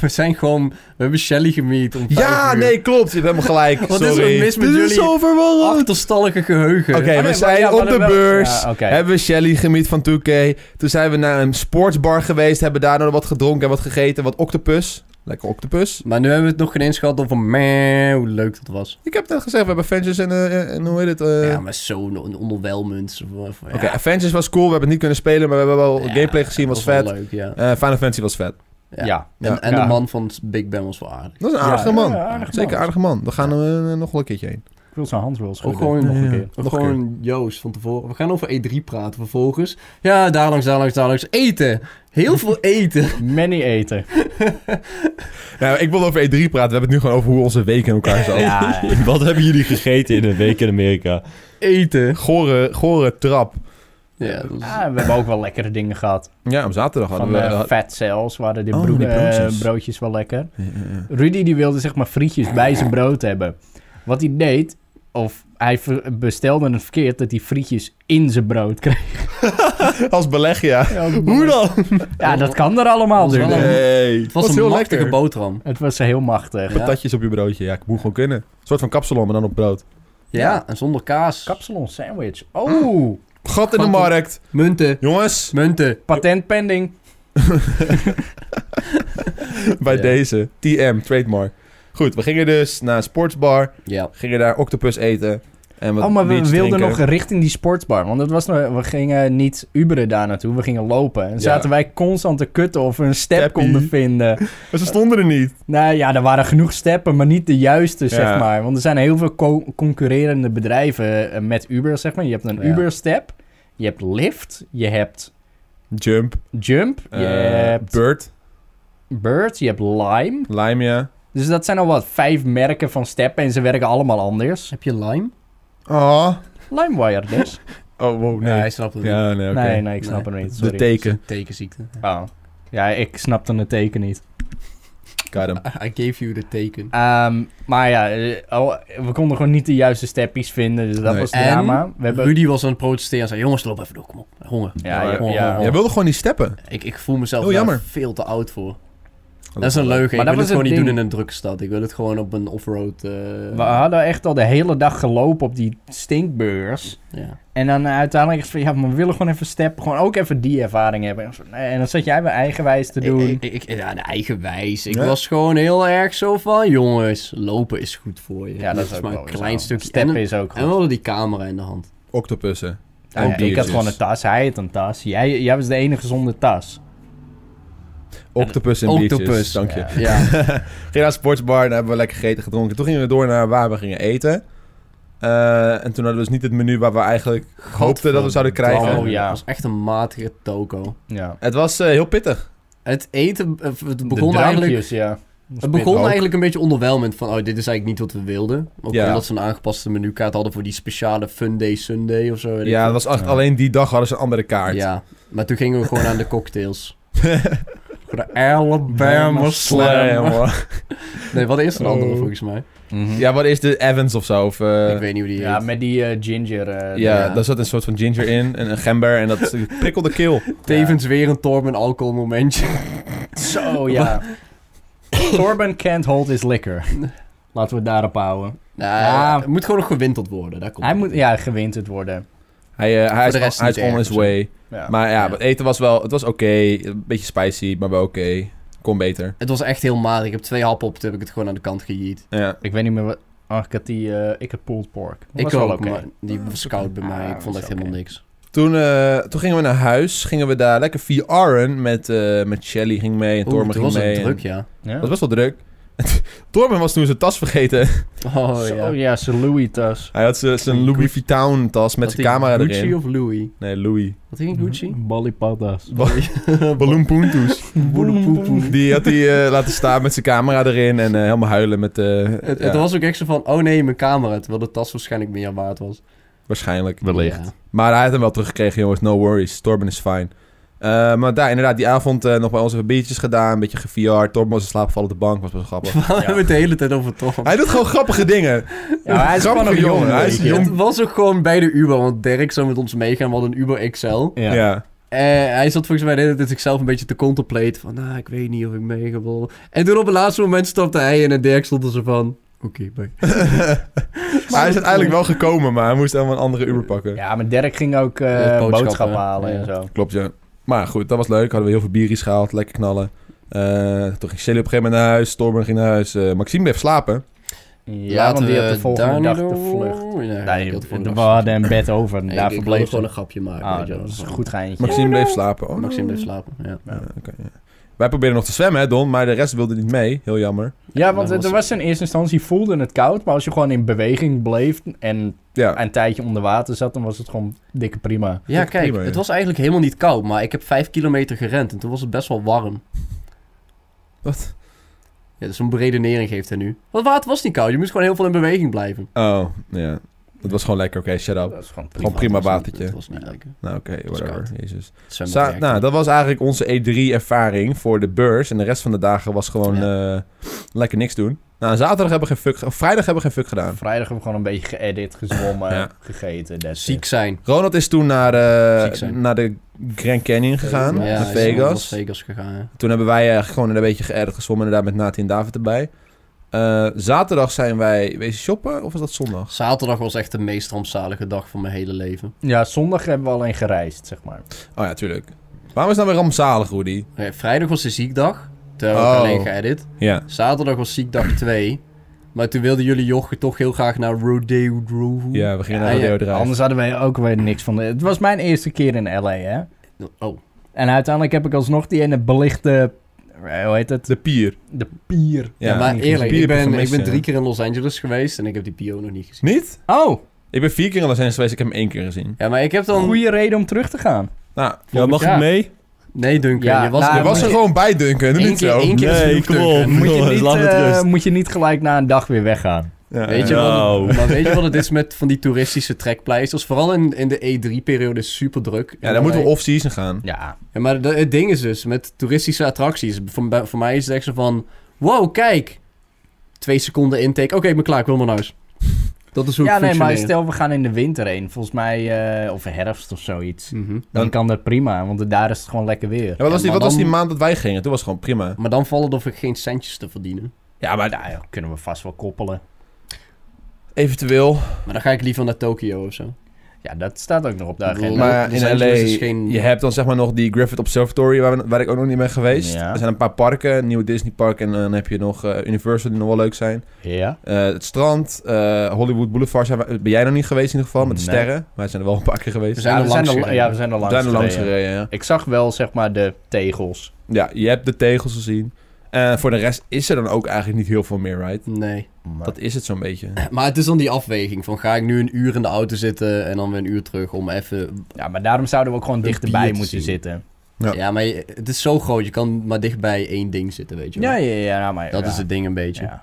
S3: We zijn gewoon... We hebben Shelly gemiet om
S1: Ja,
S3: vijf uur.
S1: nee, klopt. Je hebt helemaal gelijk.
S3: Wat is er
S1: Sorry.
S3: mis met
S1: Dit is
S3: jullie?
S1: zo verwarrend.
S3: Achterstallige geheugen.
S1: Oké,
S2: Oh,
S1: we
S2: nee,
S1: zijn
S2: maar ja, we
S1: op de
S2: hadden wel-
S1: beurs.
S2: Ja, oké.
S1: Hebben we Shelly gemiet van 2K. Toen zijn we naar een sportsbar geweest. Hebben daar nog wat gedronken en wat gegeten. Wat octopus. Lekker octopus.
S3: Maar nu hebben we het nog geen eens gehad over meh, hoe leuk dat was.
S1: Ik heb net gezegd, we hebben Avengers en, eh, en hoe heet het? eh,
S3: ja, maar zo on- onderwelmend. Of-
S1: Oké, Avengers was cool. We hebben het niet kunnen spelen, maar we hebben wel
S3: Ja,
S1: gameplay gezien.
S3: dat
S1: Was
S3: wel
S1: vet.
S3: leuk, ja.
S1: Eh, Final Fantasy was vet.
S3: Ja.
S2: Ja.
S1: Ja.
S3: En, en
S2: Ja.
S3: de man van Big Ben was wel aardig.
S1: Dat is een
S2: Ja,
S1: aardige
S2: ja,
S1: man.
S2: ja, aardig
S1: Zeker
S2: man.
S1: aardige man. Daar gaan we eh, nog wel een keertje heen.
S2: Ik wil zijn hand wel
S3: Of
S2: schudden.
S3: gewoon,
S1: Ja,
S3: nog een
S1: ja.
S3: keer. Of
S1: Nog een
S3: gewoon Joost van tevoren. We gaan over E3 praten vervolgens. Ja, daar langs, daar langs, daar langs. Eten. Heel veel eten.
S2: Many eten.
S1: Nou, ik wil over E3 praten. We hebben het nu gewoon over hoe onze week in elkaar zat.
S2: Ja, ja.
S4: Wat hebben jullie gegeten in een week in Amerika?
S3: Eten.
S1: Gore, gore trap.
S3: Ja, dat is-
S2: Ah, we hebben ook wel lekkere dingen gehad.
S1: Ja, op zaterdag
S2: Van
S1: hadden we...
S2: eh, Fat Cells waren de
S1: Oh,
S2: broe-
S1: die broodjes.
S2: eh, broodjes wel lekker.
S1: Ja, ja, ja.
S2: Rudy die wilde zeg maar frietjes bij zijn brood hebben. Wat hij deed, of hij ver- bestelde het verkeerd dat hij frietjes in zijn brood kreeg.
S1: Als beleg, ja. Hoe dan?
S2: Ja, dat kan er allemaal
S3: Dat is wel
S2: natuurlijk.
S3: een-
S1: Nee.
S3: het was,
S1: Dat is
S3: een
S1: heel
S3: machtige
S1: lekker.
S3: boterham.
S2: Het was heel machtig.
S3: Ja.
S1: Patatjes op je broodje. Ja, ik moet gewoon kunnen. Een soort van kapsalon, maar dan op brood.
S3: Ja, en zonder kaas.
S2: Kapsalon sandwich. Oh,
S1: Gat in de
S3: Fuck.
S1: markt.
S3: Munten.
S1: Jongens,
S3: Munten.
S2: patent pending.
S1: bij
S3: Ja.
S1: deze. TM, trademark. Goed, we gingen dus naar een sportsbar.
S3: Ja.
S1: Gingen daar octopus eten. En wat
S2: Oh, maar we
S1: biertjes
S2: wilden
S1: drinken.
S2: nog richting die sportsbar. Want dat was nog, we gingen niet Uberen daar naartoe, we gingen lopen. En zaten wij constant te kutten of we een step
S1: Steppie.
S2: konden vinden.
S1: Maar ze stonden er niet.
S2: Nou ja, er waren genoeg steppen, maar niet de juiste,
S1: Ja.
S2: zeg maar. Want er zijn heel veel co- concurrerende bedrijven eh, met Uber, zeg maar. Je hebt een
S3: Ja.
S2: Uber-step, je hebt Lyft, je hebt
S1: Jump.
S2: Jump, je
S1: eh,
S2: hebt
S1: Bird.
S2: Bird, je hebt Lime.
S1: Lime, ja.
S2: Dus dat zijn al wat vijf merken van steppen en ze werken allemaal anders.
S3: Heb je lime?
S2: Ah.
S1: Oh.
S2: LimeWire dus.
S1: Oh, wow,
S3: Nee,
S1: nee.
S3: hij snapt het niet.
S1: Ja, nee, oké.
S2: Nee, nee, ik snap
S3: Nee.
S2: het niet.
S1: De
S2: Sorry.
S1: teken.
S3: Het is een tekenziekte.
S2: Oh. Ja, ik snapte het teken niet.
S1: Got him.
S3: I I gave you the teken.
S2: Ehm, maar ja, eh, oh, we konden gewoon niet de juiste steppies vinden, dus dat
S1: Nee.
S2: was
S3: En
S2: drama. We hebben...
S3: Rudy was aan het protesteren en zei, jongens, loop even door, kom op. Honger.
S2: Ja,
S3: Honger,
S2: ja,
S3: honger,
S2: ja.
S3: honger.
S1: Jij wilde gewoon niet steppen.
S3: Ik, ik voel mezelf
S1: Heel
S3: daar
S1: jammer.
S3: veel te oud voor. Dat is een leugen.
S2: Maar
S3: ik
S2: dat
S3: wil
S2: was
S3: het gewoon
S2: het
S3: niet
S2: ding.
S3: doen in een drukke stad. Ik wil het gewoon op een offroad... eh
S2: We hadden echt al de hele dag gelopen op die stinkbeurs.
S3: ja.
S2: En dan eh, uiteindelijk is het van, ja, maar we willen gewoon even steppen. Gewoon ook even die ervaring hebben. En zo, nee, En dan zat jij bij eigenwijs te doen.
S3: Ik, ik, ik- ja, de eigenwijs. Ik
S1: Ja.
S3: was gewoon heel erg zo van... Jongens, lopen is goed voor je.
S2: ja, dat is ook
S3: maar
S2: wel
S3: een
S2: weer
S3: klein
S2: zo.
S3: stukje. En,
S2: Steppen
S3: en
S2: is ook
S3: we
S2: goed.
S3: hadden die camera in de hand.
S1: Octopussen.
S2: Nou
S1: en
S2: ja, ik had
S1: biertjes.
S2: gewoon een tas, hij had een tas. Jij, jij was de enige zonder tas.
S1: Octopus en
S3: Octopus.
S1: biertjes. Dank je.
S2: Ja.
S3: Ja.
S1: Ging naar de sportsbar, daar hebben we lekker gegeten, gedronken. Toen gingen we door naar waar we gingen eten. Eh, en toen hadden we dus niet het menu waar we eigenlijk hoopten dat we zouden krijgen.
S2: Oh, ja.
S3: Het was echt een matige toko.
S2: Ja.
S1: Het was eh, heel pittig.
S3: Het eten... eh, Het
S2: De
S3: begon eigenlijk...
S2: drankjes, ja.
S3: Het begon
S1: ook.
S3: eigenlijk een beetje onderweldigend van, oh, dit is eigenlijk niet wat we wilden. Ook
S1: Ja.
S3: omdat ze een aangepaste menukaart hadden voor die speciale Fun Day Sunday of zo. weet ik
S1: Ja,
S3: veel.
S1: het was echt,
S2: Ja.
S1: alleen die dag hadden ze een andere kaart.
S3: Ja, maar toen gingen we gewoon aan de cocktails. Voor de Alabama
S1: Ja,
S3: Slam.
S1: man.
S3: Nee, wat is een
S1: Oh.
S3: andere volgens mij?
S2: Mhm.
S1: Ja, wat is de Evans of zo? Of, eh,
S3: ik weet niet hoe die
S2: Ja,
S3: heet.
S2: met die eh, ginger. eh,
S1: ja,
S3: ja.
S1: daar zat een soort van ginger in en een gember en dat prikkelde keel.
S3: Tevens weer een Torben alcohol momentje.
S2: Zo, Oh, ja. Torben can't hold his liquor. Laten we het daarop houden.
S3: Nou,
S2: Ja.
S3: Het moet gewoon nog gewinteld worden. Daar komt
S2: Hij
S3: het
S2: moet
S3: op.
S2: ja, gewinterd worden.
S1: Hij, eh, hij
S3: Voor de
S1: is,
S3: rest
S1: hij is
S3: niet
S1: on
S3: erg
S1: his
S3: of zo.
S1: way.
S2: Ja.
S1: Maar ja,
S3: Ja.
S1: het eten was wel, het was oké. Een beetje spicy, maar wel oké. Kon beter.
S3: Het was echt heel matig. Ik heb twee happen op, toen heb ik het gewoon aan de kant gejiet.
S1: Ja.
S2: ik weet niet meer wat... Oh, ik had die... eh, ik had pulled pork. Dat
S3: Ik
S2: was wel
S3: ook, maar die was koud bij
S2: Ah,
S3: mij. Ik
S2: dat
S3: vond
S2: is
S3: echt
S2: oké.
S3: helemaal niks.
S1: Toen, eh, toen gingen we naar huis. Gingen we daar lekker VR'en met, eh, met Shelly ging mee en
S3: Oeh,
S1: Torben
S3: het
S1: ging
S3: was
S1: mee.
S3: een
S1: en-
S3: druk, ja.
S2: Ja.
S1: Het was best wel druk. Torben was toen zijn tas vergeten.
S3: Oh,
S2: Zo,
S3: ja.
S2: ja, zijn Louis tas.
S1: Hij had zijn- zijn Louis Vuitton tas met
S3: Had
S1: zijn
S3: hij
S1: camera
S3: Gucci
S1: erin.
S3: of Louis?
S1: Nee, Louis.
S3: Wat ging Gucci?
S2: Ballipatas.
S1: Balloon Poentus.
S3: Boedepoepoe.
S1: Die had hij eh, laten staan met zijn camera erin en eh, helemaal huilen met... eh,
S3: Het,
S1: ja,
S3: het was ook echt zo van, oh nee, mijn camera. Terwijl de tas waarschijnlijk meer waard was.
S1: Waarschijnlijk.
S2: Wellicht.
S3: Ja.
S1: Maar hij had hem wel teruggekregen, jongens. No worries. Torben is fijn. Eh, maar daar, inderdaad, die avond eh, nog bij ons even biertjes gedaan. Een beetje geviard. Torben was in slaap gevallen op de bank. Was best grappig.
S3: We hebben het de hele tijd over Tom.
S1: hij doet gewoon grappige dingen.
S2: Ja, maar hij is gewoon
S1: Grappige
S2: nog jong.
S1: jongen, hij is
S2: weet je.
S1: jong.
S3: Het was ook gewoon bij de Uber, want Dirk zou met ons meegaan. We hadden een Uber XL.
S1: Ja.
S2: Ja.
S3: En Eh, hij zat volgens mij de hele tijd zichzelf een beetje te contemplaten. Van, nou, ik weet niet of ik mee ga worden. En toen op het laatste moment stapte hij in en Dirk stond er zo van... Oké, bye.
S1: Maar hij is uiteindelijk wel gekomen, maar hij moest helemaal een andere Uber pakken.
S2: Ja, maar Dirk ging ook eh,
S3: boodschappen.
S2: boodschappen halen
S3: Ja.
S2: en zo.
S1: Klopt, ja. Maar goed, dat was leuk. Hadden we heel veel bieries gehaald. Lekker knallen. Eh, toen ging Shelly op een gegeven moment naar huis. Stormer ging naar huis. eh, Maxime bleef slapen.
S2: Ja, want die had de volgende dag de vlucht. Nee, we hadden een bed over en daar
S3: Daar ik wilde
S2: verbleef
S3: gewoon een
S2: ze.
S3: grapje maken.
S2: Ah,
S3: weet je
S2: dat
S3: wel.
S2: was een goed geintje.
S1: Maxime bleef slapen. Oh,
S3: Maxime
S1: no.
S3: bleef slapen, ja.
S1: Ja, oké, ja. Wij probeerden nog te zwemmen, hè, Don. Maar de rest wilde niet mee. Heel jammer.
S2: Ja,
S3: Dan
S2: want het
S3: was-
S2: er was in eerste instantie voelde het koud, maar als je gewoon in beweging bleef en
S1: Ja.
S2: een tijdje onder water zat, dan was het gewoon dikke prima.
S3: Ja,
S1: Echt
S3: kijk,
S1: prima, ja.
S3: het was eigenlijk helemaal niet koud, maar ik heb vijf kilometer gerend en toen was het best wel warm.
S1: Wat?
S3: Ja, dus een beredenering geeft hij nu. Want water was niet koud, je moest gewoon heel veel in beweging blijven.
S1: Oh, ja. Dat was gewoon lekker. Oké, shut up.
S2: Dat is gewoon prima.
S1: Gewoon prima
S3: Het was niet-
S1: watertje.
S3: Het was niet lekker.
S1: Nou, oké,
S3: was
S1: whatever.
S3: koud.
S1: Jezus.
S3: Het zwembad
S1: Za-
S3: werkte.
S1: nou, dat was eigenlijk onze E3-ervaring voor de beurs. En de rest van de dagen was gewoon eh, lekker niks doen. Nou, zaterdag hebben we geen fuck... ge- Of vrijdag hebben we geen fuck gedaan.
S2: Vrijdag hebben we gewoon een beetje geëdit, gezwommen,
S1: Ja.
S2: gegeten. that's
S3: Ziek
S2: it.
S3: zijn.
S1: Ronald is toen naar, eh,
S3: Ziek zijn.
S1: naar de Grand Canyon gegaan,
S3: Ja,
S1: naar
S3: hij is naar Las
S1: Vegas.
S3: Vegas gegaan, ja.
S1: Toen hebben wij eh, gewoon een beetje geërgerd gezwommen, inderdaad, met Nati en David erbij. Eh, zaterdag zijn wij wezen shoppen, of was dat zondag?
S3: Zaterdag was echt de meest rampzalige dag van mijn hele leven.
S2: Ja, zondag hebben we alleen gereisd, zeg maar.
S1: Oh ja, tuurlijk. Waarom is het nou weer rampzalig, Rudy?
S3: Eh, Oké, vrijdag was de ziekdag. Toen hebben we
S1: Oh.
S3: alleen geëdit.
S1: Ja.
S3: Zaterdag was ziekdag 2. Maar toen wilden jullie jochen toch heel graag naar Rodeo Drive.
S1: Ja, we gingen
S3: Ja,
S1: naar Rodeo
S3: ja,
S1: Drive.
S2: Anders hadden wij ook weer niks van. De... Het was mijn eerste keer in LA, hè?
S3: Oh,
S2: En uiteindelijk heb ik alsnog die ene belichte. eh, Hoe heet het?
S1: De pier.
S2: De pier.
S3: ja, maar
S2: niet
S3: eerlijk,
S1: gezien.
S3: ik ben,
S1: Gemist,
S3: ik ben
S1: ja.
S3: drie keer in Los Angeles geweest en ik heb die PO nog niet gezien.
S1: Niet?
S2: Oh,
S1: Ik ben vier keer in Los Angeles geweest, ik heb hem één keer gezien.
S3: Ja, maar ik heb dan...
S2: goede reden om terug te gaan.
S1: Nou,
S4: Ja, mag
S3: Ja.
S4: ik mee?
S3: Nee, Duncan,
S2: Ja,
S3: je was,
S2: nou,
S1: je
S3: je
S1: was
S2: maar-
S1: er gewoon bij, Duncan. Doe
S3: Eén
S1: niet
S3: keer-
S1: zo.
S3: Ah, één keer- is
S4: Nee,
S3: genoeg,
S4: kom
S3: Duncan.
S4: op.
S2: Moet je,
S4: jongens,
S2: niet,
S4: laat het
S2: eh,
S4: rust.
S2: moet je niet gelijk na een dag weer weggaan.
S1: Ja,
S3: Weet je,
S1: ja.
S3: wat
S4: Nou.
S3: het, maar weet je wat het is met van die toeristische trekpleisters? Vooral in, in de E3-periode is super druk.
S1: Ja, dan moeten we off-season gaan.
S2: Ja.
S3: Ja, maar de- het ding is dus, met toeristische attracties, voor, bij- voor mij is het echt zo van... Wow, kijk! Twee seconden intake. Oké, ik ben klaar, ik wil maar naar huis. Dat is hoe
S2: Ja,
S3: ik
S2: nee, maar
S3: functioneer.
S2: stel we gaan in de winter heen. Volgens mij, eh, of herfst of zoiets.
S3: Mhm.
S2: Dan
S1: Dan-
S2: kan dat prima, want daar is het gewoon lekker weer.
S1: Ja, wat was, die,
S3: maar
S1: wat was die
S3: dan-
S1: maand dat wij gingen? Toen was het gewoon prima.
S3: Maar dan vallen er geen centjes te verdienen.
S1: Ja, maar
S2: Nou, ja, kunnen we vast wel koppelen.
S1: eventueel.
S3: Maar dan ga ik liever naar Tokio of zo.
S2: Ja, dat staat ook nog op de agenda.
S3: Los
S1: Maar
S3: Angeles
S1: in LA,
S3: is dus geen-
S1: je hebt dan zeg maar nog die Griffith Observatory, waar, we- waar ik ook nog niet ben geweest.
S2: Ja.
S1: Er zijn een paar parken, een nieuwe Disney park en eh, dan heb je nog eh, Universal die nog wel leuk zijn.
S2: Ja.
S1: Eh, het strand, eh, Hollywood Boulevard zijn we- ben jij nog niet geweest in ieder geval, met de
S2: Nee.
S1: sterren. Wij zijn er wel een paar keer geweest.
S2: Ja,
S3: We zijn
S2: we
S3: er
S2: zijn
S3: langs
S2: er,
S3: gereden.
S2: ja, we zijn er
S1: We
S2: langs
S1: zijn er langs
S2: gereden.
S1: gereden, ja.
S2: Ik zag wel, zeg maar, de tegels.
S1: Ja, je hebt de tegels gezien. Eh voor de rest is er dan ook eigenlijk niet heel veel meer, right?
S3: Nee.
S2: Maar-
S1: Dat is het zo'n beetje.
S3: Maar het is dan die afweging van ga ik nu een uur in de auto zitten en dan weer een uur terug om even...
S2: Ja, maar daarom zouden we ook gewoon
S3: Een
S2: dichterbij
S3: bier te
S2: moeten
S3: zien.
S2: zitten.
S1: Ja.
S3: Ja, maar je- het is zo groot, je kan maar dichtbij één ding zitten, weet je wel.
S2: Ja, ja, ja. nou, maar,
S3: Dat
S2: ja.
S3: is het ding een beetje.
S2: Ja.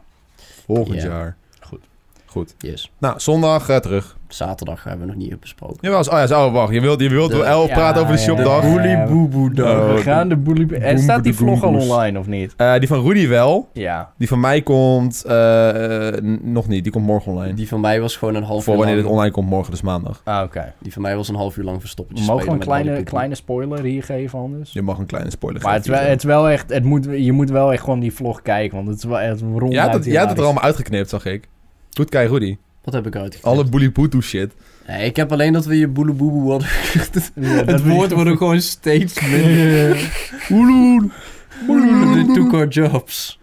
S1: Volgend
S3: Ja.
S1: jaar.
S2: Goed.
S1: Goed.
S3: Yes.
S1: Nou, zondag eh, terug.
S3: Zaterdag hebben we nog niet besproken.
S1: Jawel, oh ja, zo, wacht. Je wilt, je wilt
S3: De-
S1: wel elf
S2: Ja,
S1: praten over de
S2: ja,
S1: shopdag.
S2: ja, ja. Woelie boe
S1: dag.
S2: Oh, we gaan de boelie... En
S1: boem-
S2: staat die
S1: de
S2: vlog al
S1: boemboes.
S2: online of niet?
S1: Eh, die van Rudy wel.
S2: Ja.
S1: Die van mij komt eh, eh, n- nog niet. Die komt morgen online.
S3: Die van mij was gewoon een half
S1: Voor
S3: uur
S1: wanneer dit
S3: lang...
S1: online komt, morgen dus maandag.
S2: Ah, oké.
S3: Die van mij was een half uur lang verstoppertje
S2: Mogen we een
S3: spelen met
S2: kleine,
S3: Lollipop.
S2: kleine spoiler hier geven anders?
S1: Dus Je mag een kleine spoiler
S2: Maar het, is wel-
S1: geven.
S2: het is wel echt, het moet, je moet wel echt gewoon die vlog kijken, want het is wel echt rond.
S1: Jij had het, jij had het er allemaal uitgeknipt, zag ik. Goed kijk, Rudy.
S3: Wat heb ik uitgekregen?
S1: Alle boelipoetoe shit.
S3: Nee, ik heb alleen dat we je boeleboeboe hadden. het woord wordt ook gewoon steeds minder.
S1: Oeloen.
S3: They took our jobs.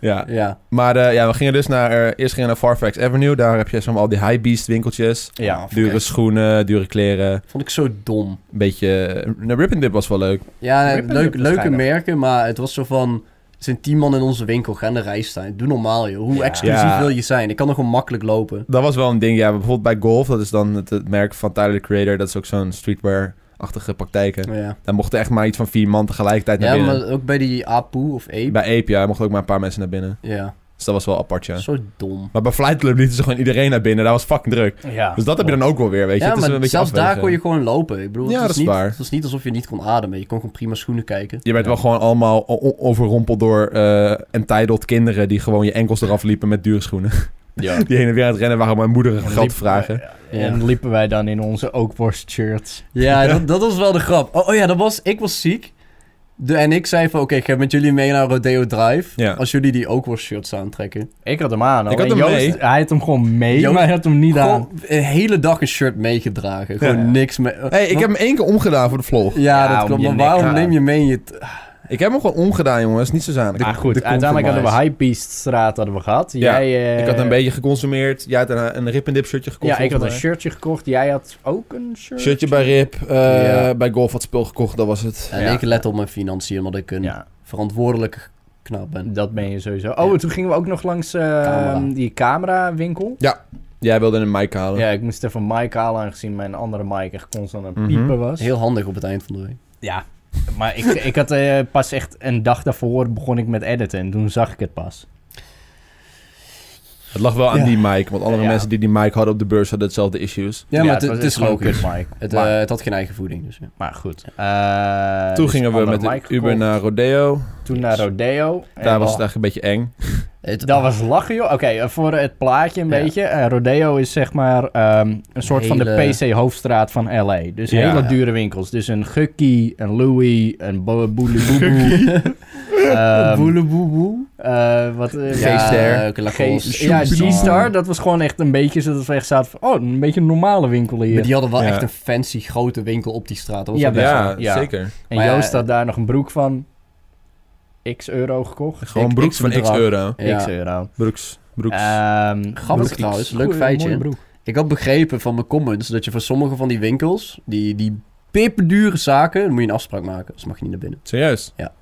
S1: Ja,
S3: Ja.
S1: maar eh, ja, we gingen dus naar... eh, eerst gingen we naar Farfax Avenue. Daar heb je zo'n al die high beast winkeltjes.
S2: Ja.
S1: Dure schoenen, dure kleren.
S3: Vond ik zo dom.
S1: Een beetje... eh, Een rip and dip was wel leuk.
S3: Ja,
S2: Rip and
S3: leuk,
S2: Dip is
S3: leuke
S2: geinig.
S3: merken, maar het was zo van... Er zijn tien man in onze winkel, ga in de rij staan. Doe normaal, joh. Hoe
S2: Ja.
S3: exclusief
S1: Ja.
S3: wil je zijn? Ik kan er gewoon makkelijk lopen.
S1: Dat was wel een ding, ja. Bijvoorbeeld bij Golf, dat is dan het, het merk van Tyler, the Creator. Dat is ook zo'n streetwear-achtige praktijken.
S3: Ja,
S1: Daar mochten echt maar iets van vier man tegelijkertijd naar
S3: ja
S1: binnen.
S3: maar ook bij die Apu of Ape.
S1: Bij Ape, ja, mochten ook maar een paar mensen naar binnen.
S3: Ja,
S1: Dus dat was wel apart, ja.
S3: zo dom.
S1: Maar bij Flight Club lieten ze gewoon iedereen naar binnen. Dat was fucking druk.
S2: Ja.
S1: Dus dat heb je dan ook wel weer, weet je.
S3: ja,
S1: Het is
S3: maar
S1: een beetje
S3: zelfs daar
S1: afwegen.
S3: kon je gewoon lopen. Ik bedoel,
S1: Ja,
S3: het,
S1: dat
S3: was
S1: is
S3: niet,
S1: waar.
S3: het was niet alsof je niet kon ademen. Je kon gewoon prima schoenen kijken.
S1: Je werd wel gewoon allemaal o- o- overrompeld door eh entitled kinderen... die gewoon je enkels eraf liepen met dure schoenen.
S2: Ja.
S1: Die heen en weer aan het rennen waren om mijn moeder geld te vragen.
S3: Ja.
S2: En liepen wij dan in onze oakworst shirts.
S3: Ja, dat, dat was wel de grap. Oh, oh ja, dat was, ik was ziek. De, en ik zei van, oké, ik ga met jullie mee naar Rodeo Drive.
S1: Ja.
S3: Als jullie die ook wel shirts aantrekken.
S2: Ik had hem aan. hoor.
S1: Ik had hem
S2: Joost,
S1: mee.
S2: Hij had hem gewoon mee,
S3: Joost-
S2: maar hij had hem niet aan.
S3: Gewoon een hele dag een shirt meegedragen. Gewoon
S2: Ja.
S3: niks mee.
S1: Hé, hey, ik heb hem één keer omgedaan voor de vlog.
S3: Ja,
S2: Ja, om
S3: dat klopt.
S2: je
S3: Maar
S2: nek
S3: waarom
S2: aan.
S3: neem je mee in je... t-
S1: Ik heb hem gewoon omgedaan, jongens. Niet zo zanig.
S2: Maar goed,
S3: de
S2: uiteindelijk hadden we
S3: compromise.
S2: Hypebeast straat hadden we gehad.
S1: Ja,
S2: Jij, eh,
S1: ik had een beetje geconsumeerd. Jij had een, een Rip and Dip shirtje gekocht.
S2: Ja, ik had een
S1: volgens
S2: shirtje gekocht. Jij had ook een shirt.
S1: mij. Shirtje bij Rip. eh,
S3: Ja.
S1: Bij Golf had spul gekocht, dat was het.
S3: En
S2: Ja.
S3: ik let op mijn financiën, omdat ik een
S2: Ja,
S3: verantwoordelijke knap ben.
S2: dat ben je sowieso. Oh, en toen gingen we ook nog langs eh,
S3: Camera.
S2: die camerawinkel.
S1: Jij wilde een mic halen.
S2: Ja, ik moest even Mike halen, aangezien mijn andere Mike echt constant aan het
S1: Mhm.
S2: piepen was.
S3: Heel handig op het eind van de week.
S2: Ja, maar ik, ik had eh, pas echt een dag daarvoor begon ik met editen en toen zag ik het pas.
S1: Het lag wel aan
S3: Ja.
S1: die mic, want andere
S2: Ja.
S1: mensen die die mic hadden op de beurs hadden hetzelfde issues.
S3: Ja, maar het,
S2: was
S3: het
S2: echt
S3: is
S2: gewoon
S3: logisch.
S2: kut, Mike.
S3: Het, eh,
S2: maar,
S3: het had geen eigen voeding, dus ja.
S2: maar goed. Eh,
S1: Toen
S2: dus
S1: gingen we
S2: andere
S1: met de
S2: mic
S1: Uber
S2: gekocht,
S1: naar Rodeo.
S2: Toen naar Rodeo. En
S1: Daar was
S2: wel-
S1: het eigenlijk een beetje eng.
S3: Het,
S2: Dat was lachen, joh. Oké, eh, voor het plaatje een
S3: Ja.
S2: beetje. eh, Rodeo is zeg maar ehm, een soort van de
S3: Hele-
S2: PC-hoofdstraat van L.A. Dus
S1: Ja.
S2: hele dure winkels. Dus een Gukkie, een Louis, een Bo- Boeleboeboe.
S3: Gukkie.
S2: Ehm,
S3: Boeleboeboe.
S2: eh, wat... eh,
S1: Ja, G-Star.
S3: ook een
S2: G-
S3: Lacoste.
S2: ja,
S1: Shoebedoel.
S2: G-Star, dat was gewoon echt een beetje zodat we echt zaten van... Oh, een beetje een normale winkel
S3: Maar
S2: hier.
S3: die hadden wel
S1: Ja.
S3: echt een fancy grote winkel op die straat. Dat was
S2: Ja,
S3: wel best
S1: Ja,
S3: wel-
S2: Ja.
S1: zeker.
S2: En
S3: maar ja,
S2: Joost had daar nog een broek van x euro gekocht.
S1: Gewoon
S3: Ik-
S1: broeks
S3: ik
S1: van x
S3: bedrag.
S1: euro.
S3: Ja.
S2: X euro.
S1: Broeks. Broeks.
S2: Ehm,
S3: Grappig
S2: broek.
S3: trouwens, leuk
S2: Goeie,
S3: feitje.
S2: mooie broek.
S3: Ik had begrepen van mijn comments dat je voor sommige van die winkels, die, die pipdure zaken, dan moet je een afspraak maken. Anders mag je niet naar binnen.
S1: Serieus?
S3: Ja.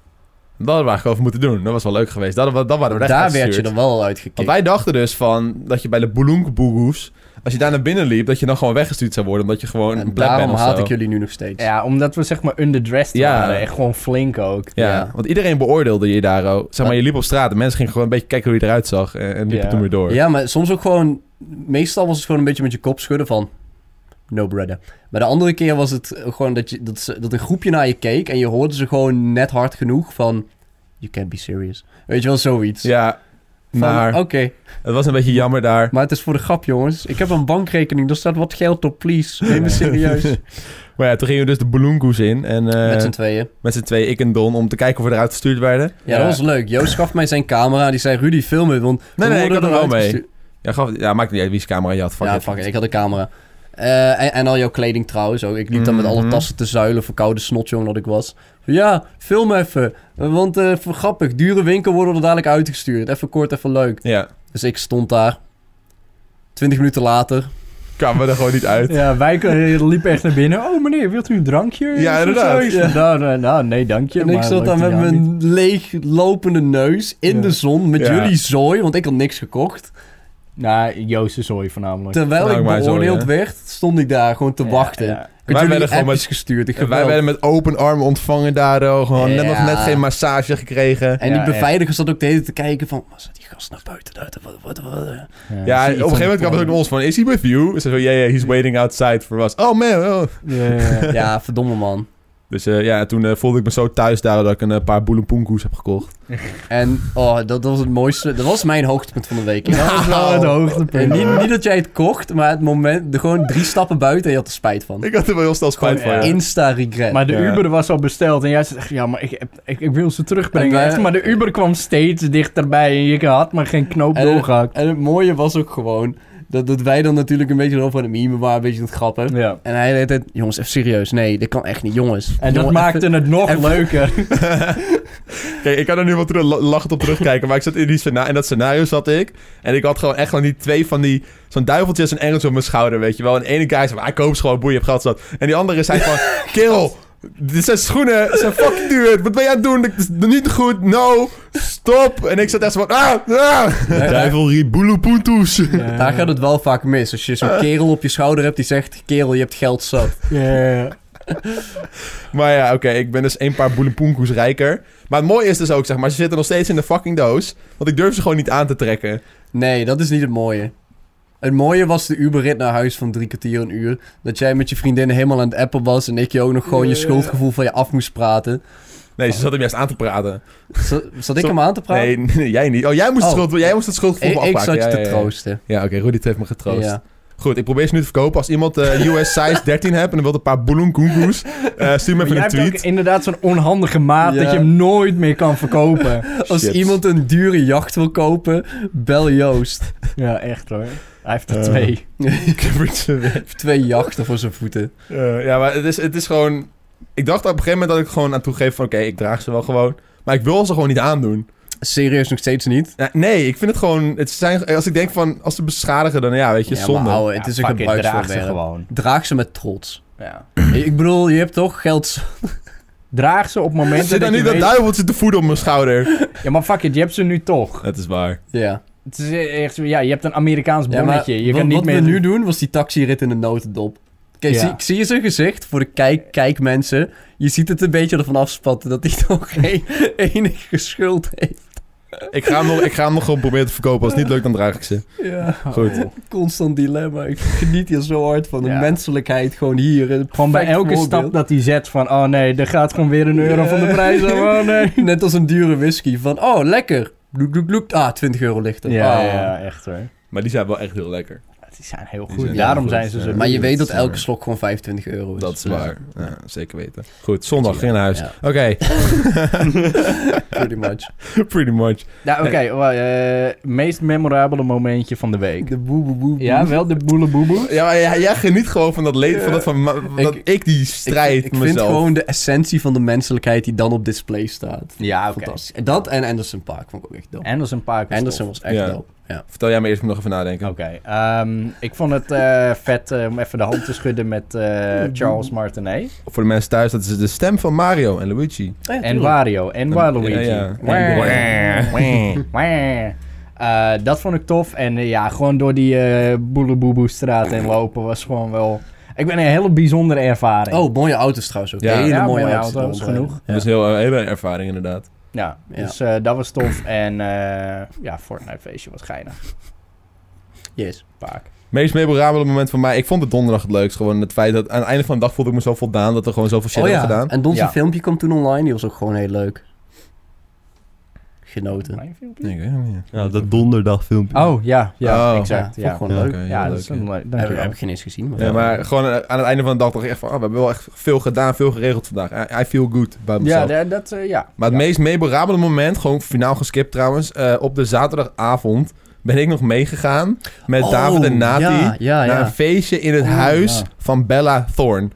S1: Dat hadden we eigenlijk over moeten doen. Dat was wel leuk geweest. Dat, dat, Ah, dat waren we
S3: Daar werd je dan wel uitgekikt.
S1: Want wij dachten dus van dat je bij de Boelonkboegoes, als je daar naar binnen liep, dat je dan gewoon weggestuurd zou worden. Omdat je gewoon
S3: En
S1: een plek bent
S3: daarom
S1: of
S3: haat
S1: zo.
S3: ik jullie nu nog steeds.
S2: Ja, omdat we zeg maar underdressed
S1: Ja.
S2: waren. Echt gewoon flink ook.
S1: Ja,
S3: Ja.
S1: want iedereen beoordeelde je daar ook. Zeg maar, je liep op straat en mensen gingen gewoon een beetje kijken hoe je eruit zag. En, en liepen
S2: Ja.
S1: toen weer door.
S3: Ja, maar soms ook gewoon... Meestal was het gewoon een beetje met je kop schudden van... No brother. Maar de andere keer was het gewoon dat, je, dat, ze, dat een groepje naar je keek... en je hoorde ze gewoon net hard genoeg van... You can't be serious. Weet je wel, zoiets.
S1: Ja,
S3: Van,
S1: maar
S3: Oké,
S1: het was een beetje jammer daar.
S3: maar het is voor de grap, jongens. Ik heb een bankrekening, daar staat wat geld op, please. Neem me serieus.
S1: Maar ja, toen gingen we dus de Boelonkboes in. En eh,
S3: Met z'n tweeën.
S1: met z'n twee, ik en Don, om te kijken of we eruit gestuurd werden.
S3: Ja, dat was leuk. Joost gaf mij zijn camera. Die zei, Rudy, film het, want... we
S1: nee, ik
S3: worden
S1: had hem wel
S3: eruit
S1: mee.
S3: gestuurd."
S1: Ja, gaf, ja maakt niet uit wie zijn camera je had. Fuck
S3: ja,
S1: it.
S3: fuck it, ik had een camera. Eh, en, en al jouw kleding trouwens ook. Ik liep dan met alle
S1: Mhm.
S3: tassen te zuilen voor koude snotjong dat ik was. Van, ja, film even. Eh, Want eh, voor grappig, dure winkel worden er dadelijk uitgestuurd. Even kort, even leuk.
S1: Ja,
S3: Dus ik stond daar. Twintig minuten later.
S1: kwamen we er gewoon niet uit.
S2: Ja, wij k- liepen echt naar binnen. Oh meneer, wilt u een drankje?
S1: Ja,
S2: Of
S1: inderdaad.
S2: zoiets.
S3: Ja.
S2: Nou, nou, nou, nee, dankje.
S3: en ik zat daar met mijn leeg lopende neus in
S2: Ja.
S3: de zon met
S1: Ja.
S3: jullie zooi, want ik had niks gekocht.
S2: Nou, Joost is zooi voornamelijk.
S3: Terwijl
S1: Nou,
S3: ik
S1: maar zooi,
S3: beoordeeld
S1: hè?
S3: werd, stond ik daar gewoon te
S2: Ja,
S3: wachten.
S2: ja.
S3: Ik
S1: Wij
S3: had jullie
S1: werden gewoon
S3: appjes
S1: met-
S3: gestuurd. Ik
S1: En wij werden met open armen ontvangen daar. oh, gewoon net nog
S3: Ja.
S1: net geen massage gekregen.
S3: En
S2: Ja,
S3: die
S2: echt.
S3: beveiligers zat ook de hele tijd te kijken van... "Waar zit die gast naar buiten? Uit? Wat, wat, wat, wat?"
S1: Ja, op
S2: zie
S1: een gegeven
S2: iets
S1: moment kwam
S2: van
S1: het
S2: de
S1: ook naar ons van, is he with you? Ze zo, ja, ja, he's waiting outside for us. Oh man, oh.
S2: Ja, ja, ja.
S3: Ja, verdomme man.
S1: Dus eh, ja, toen eh, voelde ik me zo thuis daar dat ik een eh, paar boelenpoenkoes heb gekocht.
S3: En oh, dat, dat was het mooiste. Dat was mijn hoogtepunt van de week. Ik had-
S2: Dat is wel het hoogtepunt.
S3: Nou, En niet, niet dat jij het kocht, maar het moment... De, gewoon drie stappen buiten en je had er spijt van.
S1: Ik had er wel heel snel spijt van.
S2: Gewoon,
S1: Ja.
S2: ja.
S3: Insta-regret.
S2: Maar de
S1: Ja.
S2: Uber was al besteld en jij zegt, ja, maar ik, heb- ik, ik wil ze terugbrengen.
S3: En eh, wij-
S2: echt. Maar de Uber kwam steeds dichterbij en je had maar geen knoop
S3: En- eh,
S2: doorgehakt.
S3: En het mooie was ook gewoon... Dat, dat wij dan natuurlijk een beetje erop van de meme waren, een beetje aan het grappen.
S2: Ja.
S3: En hij de hele tijd... Jongens, even serieus. Nee, dit kan echt niet, jongens.
S2: En dat
S3: Jongen,
S2: maakte het nog
S3: en-
S2: leuker.
S1: Kijk, ik kan er nu wel terug, lachend op terugkijken, maar ik zat in, die scena- in dat scenario zat ik. En ik had gewoon echt gewoon die twee van die, zo'n duiveltjes en engels op mijn schouder, weet je wel. En de ene guy zei, ah, koop ze gewoon, boeien, heb gehad zat. En die andere zei van, kerel, dit zijn schoenen, zijn fucking duur, wat ben jij aan het doen? Dit is niet goed, no, stop. En ik zat echt zo van, ah, ah.
S3: daar-
S1: Duivelrie, boeloepoentoes.
S3: Daar gaat het wel vaak mis. Als je
S2: Eh.
S3: zo'n kerel op je schouder hebt die zegt... Kerel, je hebt geld zat.
S2: Ja.
S1: Maar ja, oké, ik ben dus een paar boelenpoenkoes rijker. Maar het mooie is dus ook, zeg maar, ze zitten nog steeds in de fucking doos. Want ik durf ze gewoon niet aan te trekken.
S3: Nee, dat is niet het mooie. Het mooie was de Uberrit naar huis van drie kwartier een uur. Dat jij met je vriendin helemaal aan het appen was en ik je ook nog gewoon je
S2: Ja.
S3: schuldgevoel van je af moest praten.
S1: Nee, ze zat hem juist aan te praten.
S3: Zat, zat ik
S1: Zo-
S3: hem aan te praten?
S1: Nee, nee, jij niet. Oh, jij moest, het
S3: Oh.
S1: schuld, jij moest het schuldgevoel
S3: ik,
S1: me
S3: ik
S1: afpakken.
S3: zat je
S1: ja,
S3: te
S1: ja, ja.
S3: troosten.
S1: Ja, oké, Rudy het heeft me getroost.
S3: Ja.
S1: Goed, ik probeer ze nu te verkopen. Als iemand eh, US size 13 hebt en dan wilt een paar boelenkoenkoes, eh, stuur me
S2: Maar
S1: even
S2: jij
S1: een
S2: hebt
S1: tweet.
S2: ook inderdaad zo'n onhandige maat
S3: Ja.
S2: dat je hem nooit meer kan verkopen.
S3: Als
S1: Shit.
S3: iemand een dure jacht wil kopen, bel Joost.
S2: ja, echt hoor. Hij heeft er
S1: Eh.
S2: twee.
S1: Ik heb er twee.
S3: Of Twee jachten voor zijn voeten.
S1: Eh, ja, maar het is, het is gewoon... Ik dacht op een gegeven moment dat ik gewoon aan toegeef van... Oké, ik draag ze wel gewoon. Maar ik wil ze gewoon niet aandoen.
S3: Serieus nog steeds niet.
S1: Ja, nee, ik vind het gewoon. Het zijn, als ik denk van. Als ze beschadigen, dan ja, weet je,
S3: Ja,
S1: zonde.
S3: maar ouwe, Oh, het is
S2: Ja,
S3: een
S2: fuck it, draag ze
S3: gebruiksvoorwerp.
S2: gewoon.
S3: Draag ze met trots.
S2: Ja.
S3: ik bedoel, je hebt toch geld... z-
S2: Draag ze op
S1: Er
S2: momenten
S1: zit
S2: dat
S1: dan
S2: je
S1: niet dat
S2: weet-
S1: duiveltje te voeden op mijn schouder.
S2: Ja, maar fuck it, je hebt ze nu toch.
S1: Dat is waar.
S3: Ja.
S2: Het is echt, ja, je hebt een Amerikaans
S3: Ja, maar
S2: bonnetje. je kan
S3: wat, wat
S2: niet meer...
S3: we nu doen was die taxirit in de notendop. Kijk,
S2: Ja.
S3: zie, zie je zijn gezicht voor de kijk, kijkmensen? Je ziet het een beetje ervan afspatten dat hij nog geen enige schuld heeft.
S1: Ik ga, hem nog, ik ga hem nog gewoon proberen te verkopen. Als het niet lukt, dan draag ik ze.
S3: Ja,
S1: Goed.
S3: constant dilemma. Ik geniet hier zo hard van. De
S2: Ja.
S3: menselijkheid gewoon hier. Een
S2: Gewoon bij
S3: perfect
S2: elke
S3: voorbeeld.
S2: stap dat hij zet van... Oh nee, er gaat gewoon weer een euro
S3: Ja.
S2: van de prijs af. Oh nee.
S3: Net als een dure whisky. Van, oh, lekker. Loek, loek, loek. Ah, 20 euro lichter.
S2: Ja,
S3: Ah.
S2: ja, echt hoor.
S1: Maar die zijn wel echt heel lekker.
S2: Die Oh. zijn heel
S1: Die
S2: goed.
S1: zijn
S2: Daarom
S1: heel
S2: zijn
S1: goed,
S2: ze
S1: ja.
S2: zo
S3: Maar je
S2: duur.
S3: weet dat elke slok gewoon 25 euro is.
S1: Dat is
S3: Ja.
S1: waar. Ja, zeker weten. Goed, zondag ging naar huis.
S3: Ja,
S1: Oké,
S3: pretty much.
S1: pretty much.
S2: Nou, oké. wel, eh, meest memorabele momentje van de week.
S3: De boe, boe, boe, boe.
S2: Ja, wel de boeleboeboe.
S1: Ja, maar jij, jij geniet gewoon van dat leed. Van dat, van, ma- dat ik, die strijd
S3: Ik, ik vind
S1: mezelf.
S3: gewoon de essentie van de menselijkheid die dan op display staat.
S2: Ja, oké.
S3: Fantastisch. En dat en Anderson Park vond ik ook echt dope.
S2: Anderson Park was
S3: Anderson
S2: tof.
S3: was echt
S1: Ja.
S3: dope. Ja.
S1: Vertel jij me eerst, ik moet nog even nadenken.
S3: Oh.
S2: Oké, ehm, ik vond het eh, vet eh, om even de hand te schudden met eh, Charles Martinet.
S1: Voor de mensen thuis, dat is de stem van Mario en Luigi.
S3: Ah, ja,
S2: En
S3: tuurlijk.
S2: Wario en Waluigi.
S1: Ja, ja.
S2: En-
S1: Wah.
S2: Wah. Eh, dat vond ik tof. En eh, ja, gewoon door die eh boeleboeboe straat heen lopen was gewoon wel... Ik ben een hele bijzondere ervaring.
S3: Oh, mooie auto's trouwens ook.
S1: Ja.
S3: Hele
S2: Ja,
S3: mooie,
S2: mooie
S3: auto's.
S2: auto's,
S3: eronder.
S2: genoeg.
S3: Ja.
S1: Dat is een heel, eh, hele ervaring inderdaad.
S2: Ja,
S3: Ja.
S2: dus eh, dat was tof. En eh ja, Fortnite feestje was geinig.
S3: Yes.
S2: Vaak.
S1: Meest memorabele moment van mij, ik vond het donderdag het leukst. Gewoon het feit dat aan het einde van de dag voelde ik me zo voldaan dat er gewoon zoveel shit
S3: Oh ja,
S1: had gedaan.
S3: en Don's
S2: Ja.
S3: filmpje kwam toen online. Die was ook gewoon heel leuk. Genoten.
S2: Mijn filmpje?
S1: Ik weet het niet.
S4: Ja, dat donderdagfilmpje.
S2: Oh, ja, ja,
S1: Oh.
S2: exact.
S3: Ja, vond
S2: Ja,
S3: ik gewoon
S4: Ja,
S3: leuk.
S1: Oké, heel
S2: ja dat
S1: leuk,
S2: is een leuk.
S3: Heb, heb
S2: Dankjewel.
S3: ik geen eens gezien. Maar
S1: Ja, maar gewoon eh, aan het einde van de dag dacht ik echt van, ah, we hebben wel echt veel gedaan, veel geregeld vandaag. I, I feel good bij mezelf.
S2: Ja, da- dat, eh, ja.
S1: Maar het
S2: ja.
S1: meest memorabele moment, gewoon finaal geskipt trouwens, eh, op de zaterdagavond ben ik nog meegegaan met
S3: Oh,
S1: Eh, David en Nati
S3: ja, ja,
S1: naar
S3: ja.
S1: een feestje in het
S2: Oh,
S1: huis
S2: ja.
S1: van Bella Thorne.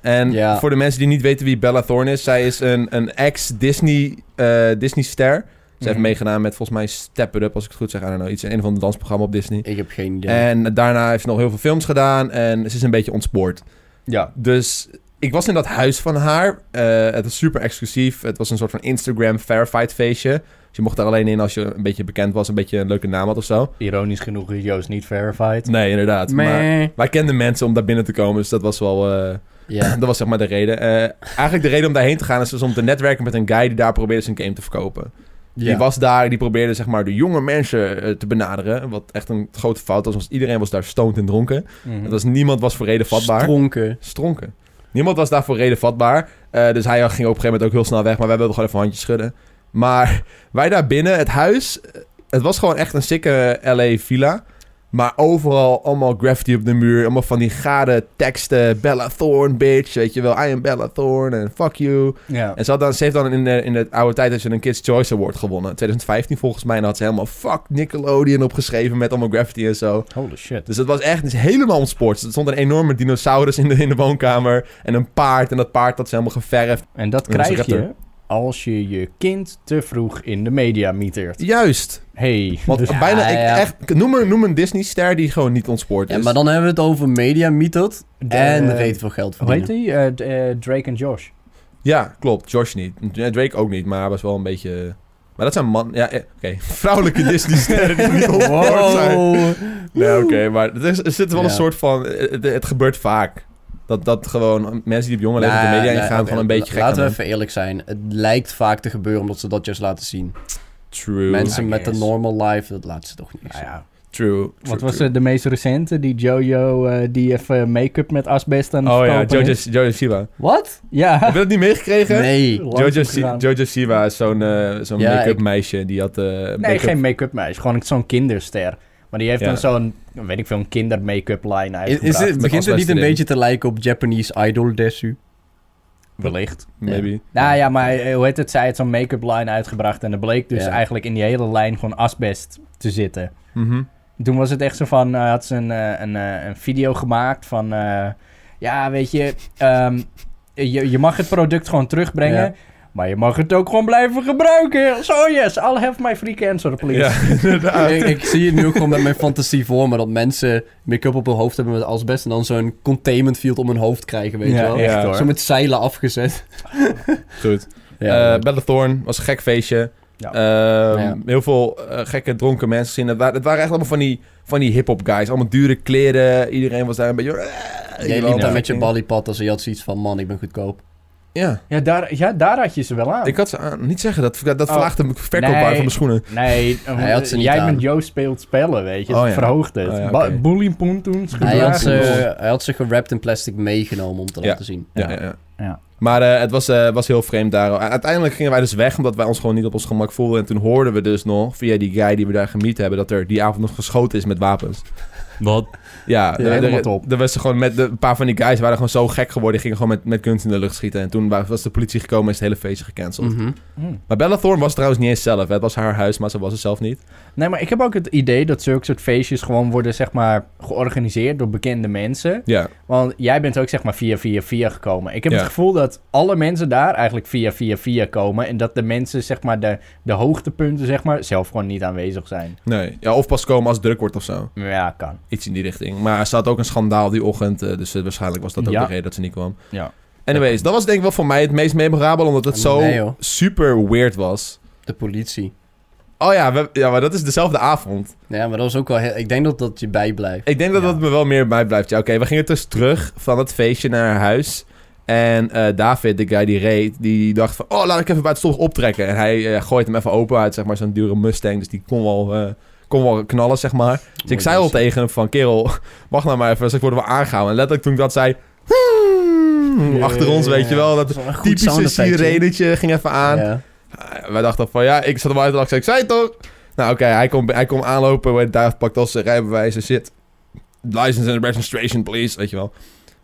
S1: En
S3: Ja.
S1: voor de mensen die niet weten wie Bella Thorne is, zij is een, een ex-Disney eh, Disney-ster. Ze heeft
S2: Mhm.
S1: meegedaan met volgens mij Step It Up, als ik het goed zeg. I don't know, iets in een Eh, van de dansprogramma op Disney.
S3: Ik heb geen idee.
S1: En daarna heeft ze nog heel veel films gedaan en ze is een beetje ontspoord.
S2: Ja.
S1: Dus ik was in dat huis van haar. Eh, het was super exclusief. Het was een soort van Instagram verified feestje. Dus je mocht daar alleen in als je een beetje bekend was, een beetje een leuke naam had of zo.
S2: Ironisch genoeg is Joost niet verified.
S1: Nee, inderdaad. Maar
S3: Meh.
S1: wij kenden mensen om daar binnen te komen, dus dat was wel... eh,
S3: Ja.
S1: dat was zeg maar de reden. Eh, eigenlijk de reden om daarheen te gaan is dus om te netwerken met een guy die daar probeerde zijn game te verkopen. Die was daar, die probeerde zeg maar de jonge mensen eh, te benaderen. Wat echt een grote fout was, want iedereen was daar stoned en dronken.
S2: Mhm.
S1: Hm. Dat was, niemand was voor reden vatbaar.
S3: Stronken.
S1: Stronken. Niemand was daarvoor reden vatbaar. Eh, dus hij ging op een gegeven moment ook heel snel weg. Maar wij wilden gewoon even handjes schudden. Maar wij daar binnen, het huis... eh, Het was gewoon echt een sikke LA villa. Maar overal allemaal graffiti op de muur. Allemaal van die gade teksten. Bella Thorne, bitch. Weet je wel, I am Bella Thorne. En fuck you.
S2: Ja.
S1: En ze, had dan, ze heeft dan in de, in de oude tijd dat ze een Kids' Choice Award gewonnen. 2015 volgens mij. En daar had ze helemaal fuck Nickelodeon opgeschreven met allemaal graffiti en zo.
S2: Holy shit.
S1: Dus dat was echt het is helemaal ontspoord. Er stond een enorme dinosaurus in de, in de woonkamer. En een paard. En dat paard had ze helemaal geverfd.
S2: En dat
S1: Dat was
S2: krijg
S1: een
S2: je als je je kind te vroeg in de media mietert.
S1: Juist.
S2: Hey.
S1: Want
S2: Dus-
S1: bijna,
S3: ja,
S1: ik-
S3: ja.
S1: echt, noem, een- noem een Disney-ster die gewoon niet ontspoord is.
S3: Ja, maar dan hebben we het over media mythot
S2: de-
S3: en reet veel geld
S2: Hoe heet
S3: verdienen.
S2: die? Eh, d- eh, Drake en Josh.
S1: Ja, klopt. Josh niet. Ja, Drake ook niet, maar hij was wel een beetje... Maar dat zijn man... Ja, eh, oké. Vrouwelijke Disney-sterren die niet ontspoord zijn.
S3: Wow.
S1: Nee, oké. maar het is, er zit wel
S3: Ja.
S1: een soort van... eh, Het, het gebeurt vaak. Dat, dat gewoon mensen die op jonge leeftijd
S3: Nou,
S1: de media
S3: nou,
S1: ingaan...
S3: oké,
S1: gewoon een beetje gek
S3: Laten
S1: aan
S3: we even eerlijk zijn. Het lijkt vaak te gebeuren omdat ze dat juist laten zien.
S1: doen. True.
S3: Mensen
S2: I
S3: met een
S2: guess.
S3: normal life, dat laten ze toch niet zien.
S1: True. true,
S2: Wat was
S1: true.
S2: eh, de meest recente? Die Jojo eh, die even make-up met asbest aan het
S1: Oh ja,
S2: verkopen
S1: Jojo,
S2: is.
S1: Jojo Siwa.
S3: Wat?
S1: Heb
S2: Ja.
S1: je dat niet meegekregen?
S3: Nee.
S1: Jojo,
S2: Langzaam
S1: Si-
S2: gedaan.
S1: Jojo Siwa is zo'n eh, zo'n
S3: Ja,
S1: make-up
S3: ik-
S1: meisje. Die had eh
S2: Nee,
S1: make-up-
S2: geen make-up meisje. Gewoon zo'n kinderster. Maar die heeft
S1: Ja.
S2: dan zo'n, weet ik veel, een kinder make-up line
S3: Is,
S2: uitgebracht.
S3: is het, begint het niet een
S1: asbest erin.
S3: beetje te lijken op Japanese Idol Desu?
S2: Wellicht.
S1: Maybe.
S2: Nou ja, maar eh, hoe heet het? Zij had zo'n make-up line uitgebracht. En er bleek dus
S3: Ja.
S2: eigenlijk in die hele lijn gewoon asbest te zitten.
S1: Mhm.
S2: Toen was het echt zo van, eh, had ze een, eh, een, eh, een video gemaakt van, eh, ja, weet je, ehm, je, je mag het product gewoon terugbrengen,
S3: Ja.
S2: maar je mag het ook gewoon blijven gebruiken. So yes, I'll have my free cancer, please.
S1: Ja, inderdaad.
S3: ik, ik zie het nu ook gewoon met mijn fantasie voor me. Dat mensen make-up op hun hoofd hebben met asbest. En dan zo'n containment field om hun hoofd krijgen, weet je wel.
S1: echt.
S2: echt hoor.
S3: Zo met zeilen afgezet.
S1: Goed.
S3: Ja,
S1: Eh, Battle Thorn was een gek feestje.
S2: Ja.
S1: Ehm,
S3: Ja.
S1: Heel veel eh, gekke dronken mensen gezien. Het wa- het waren echt allemaal van die, van die hip-hop guys. Allemaal dure kleren. Iedereen was daar een beetje. eh,
S2: Eh,
S3: Jij liep daar met je
S1: bal.
S3: ballypad als je had zoiets van, man, ik ben goedkoop.
S1: Ja,
S2: Ja, daar, ja, daar had je ze wel aan.
S1: ik had ze aan. Niet zeggen dat. Dat
S2: Oh.
S1: verlaagde de verkoopwaarde
S2: Nee.
S1: van mijn schoenen.
S2: Nee, eh,
S3: Hij had ze niet
S2: jij
S3: aan.
S2: met Joost speelt spellen, weet je.
S1: Oh,
S2: Dat
S1: ja.
S2: verhoogt het.
S1: Oh, ja,
S2: Ba-
S1: oké.
S2: Boelie Poentoens
S3: Hij had, ze,
S2: gedragen.
S3: hij had ze gewrapped in plastic meegenomen om te laten zien.
S1: Ja,
S2: Ja.
S1: ja, ja.
S2: Ja.
S1: Maar eh, het was, eh, was heel vreemd daar. U- Uiteindelijk gingen wij dus weg, omdat wij ons gewoon niet op ons gemak voelden. En toen hoorden we dus nog, via die guy die we daar gemiet hebben, dat er die avond nog geschoten is met wapens.
S4: Wat?
S1: Ja, er-
S2: helemaal
S1: er-
S2: top.
S1: Er was gewoon met de- een paar van die guys waren gewoon zo gek geworden. Die gingen gewoon met, met kunst in de lucht schieten. En toen wa- was de politie gekomen en is het hele feestje gecanceld.
S3: Mhm.
S2: Hm.
S1: Maar Bella Thorne was trouwens niet eens zelf. hè. Het was haar huis, maar ze was er zelf niet.
S2: Nee, maar ik heb ook het idee dat zulke soort feestjes gewoon worden, zeg maar, georganiseerd door bekende mensen.
S1: Ja,
S2: Want jij bent ook, zeg maar, via, via, via gekomen. Ik heb
S1: Ja.
S2: het gevoel dat dat alle mensen daar eigenlijk via, via, via komen. En dat de mensen, zeg maar, de, de hoogtepunten, zeg maar, zelf gewoon niet aanwezig zijn.
S1: Nee. Ja, of pas komen als het druk wordt of zo.
S2: Ja, kan.
S1: Iets in die richting. Maar er staat ook een schandaal die ochtend. eh, Dus eh, waarschijnlijk was dat ook
S2: Ja.
S1: de reden dat ze niet kwam.
S2: Ja.
S1: Anyways, dat was denk ik wel voor mij het meest memorabel. Omdat het zo
S3: Nee, joh.
S1: super weird was.
S3: De politie.
S1: Oh ja, we- ja, maar dat is dezelfde avond.
S3: Ja, maar dat was ook wel heel... Ik denk dat dat je bijblijft.
S1: Ik denk dat
S2: Ja.
S1: dat me wel meer bijblijft. Ja, oké. we gingen dus terug van het feestje naar haar huis. En eh, David, de guy die reed, die dacht van... Oh, laat ik even bij het stof optrekken. En hij eh, gooit hem even open uit, zeg maar, zo'n dure Mustang. Dus die kon wel, eh, kon wel knallen, zeg maar. Dus ik zei al tegen hem van... Kerel, wacht nou maar even, straks worden we aangehouden. En letterlijk toen ik dat zei... "Hmm," achter ons, weet je wel. Dat typische sirenetje ging even aan.
S3: Ja.
S1: Ah, Wij dachten van, ja, ik zat hem uit de lach. Ik zei het toch? Nou, oké, hij komt hij komt aanlopen. weet je, Daar pakt al zijn rijbewijs en shit. License and registration, please. Weet je wel.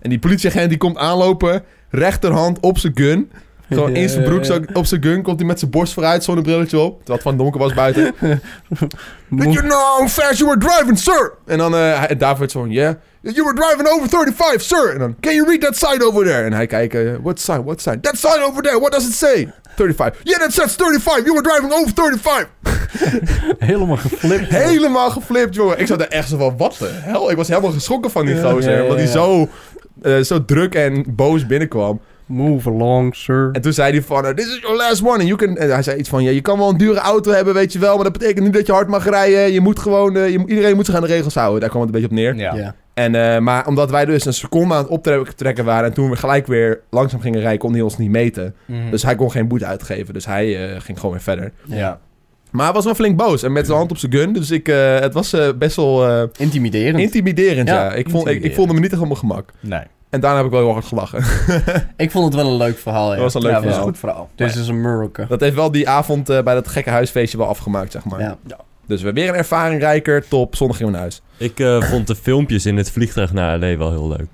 S1: En die politieagent die komt aanlopen. Rechterhand op zijn gun. Gewoon in zijn broekzak op zijn gun. Komt hij met zijn borst vooruit. Zonnebrilletje op. Terwijl het van donker was buiten. Did you know how fast you were driving, sir? En dan eh, hij- David zo van, yeah. You were driving over 35, sir. En dan, can you read that sign over there? En hij kijkt, eh, what sign, what sign? That sign over there, what does it say? 35. Yeah, that says 35. You were driving over 35.
S2: Helemaal geflipt.
S1: Helemaal geflipt, jongen. Ik zat er echt zo van, wat de hel? Ik was helemaal geschrokken van die
S3: Ja,
S1: gozer.
S3: ja, ja,
S1: Omdat hij
S3: ja.
S1: zo, eh, zo druk en boos binnenkwam.
S3: Move along, sir.
S1: En toen zei hij van, eh, this is your last one. And you can... En hij zei iets van, ja, je kan wel een dure auto hebben, weet je wel. Maar dat betekent niet dat je hard mag rijden. Je moet gewoon, eh, je- iedereen moet zich aan de regels houden. Daar kwam het een beetje op neer.
S2: Ja.
S3: Ja.
S1: En, eh, maar omdat wij dus een seconde aan het optrekken waren... en toen we gelijk weer langzaam gingen rijden, kon hij ons niet meten.
S3: Hm.
S2: Mhm.
S1: Dus hij kon geen boete uitgeven. Dus hij eh, ging gewoon weer verder.
S2: ja.
S1: Maar hij was wel flink boos en met zijn hand op zijn gun. Dus ik, eh, het was eh, best wel eh,
S3: Intimiderend.
S1: intimiderend, ja. Ik,
S3: Ja,
S1: vond, ik, ik
S2: intimiderend.
S1: voelde me niet echt op mijn gemak.
S2: Nee.
S1: En daarna heb ik wel heel hard gelachen.
S3: ik vond het wel een leuk verhaal, ja.
S1: Dat was een leuk
S2: ja, dat is
S1: verhaal.
S2: een goed verhaal.
S3: Dit is een miracle.
S1: Dat heeft wel die avond eh, bij dat gekke huisfeestje wel afgemaakt, zeg maar.
S3: Ja.
S1: Dus we hebben weer een ervaring rijker. Top, zondag gingen we naar huis.
S4: Ik eh, vond de filmpjes in het vliegtuig naar L.A. wel heel leuk.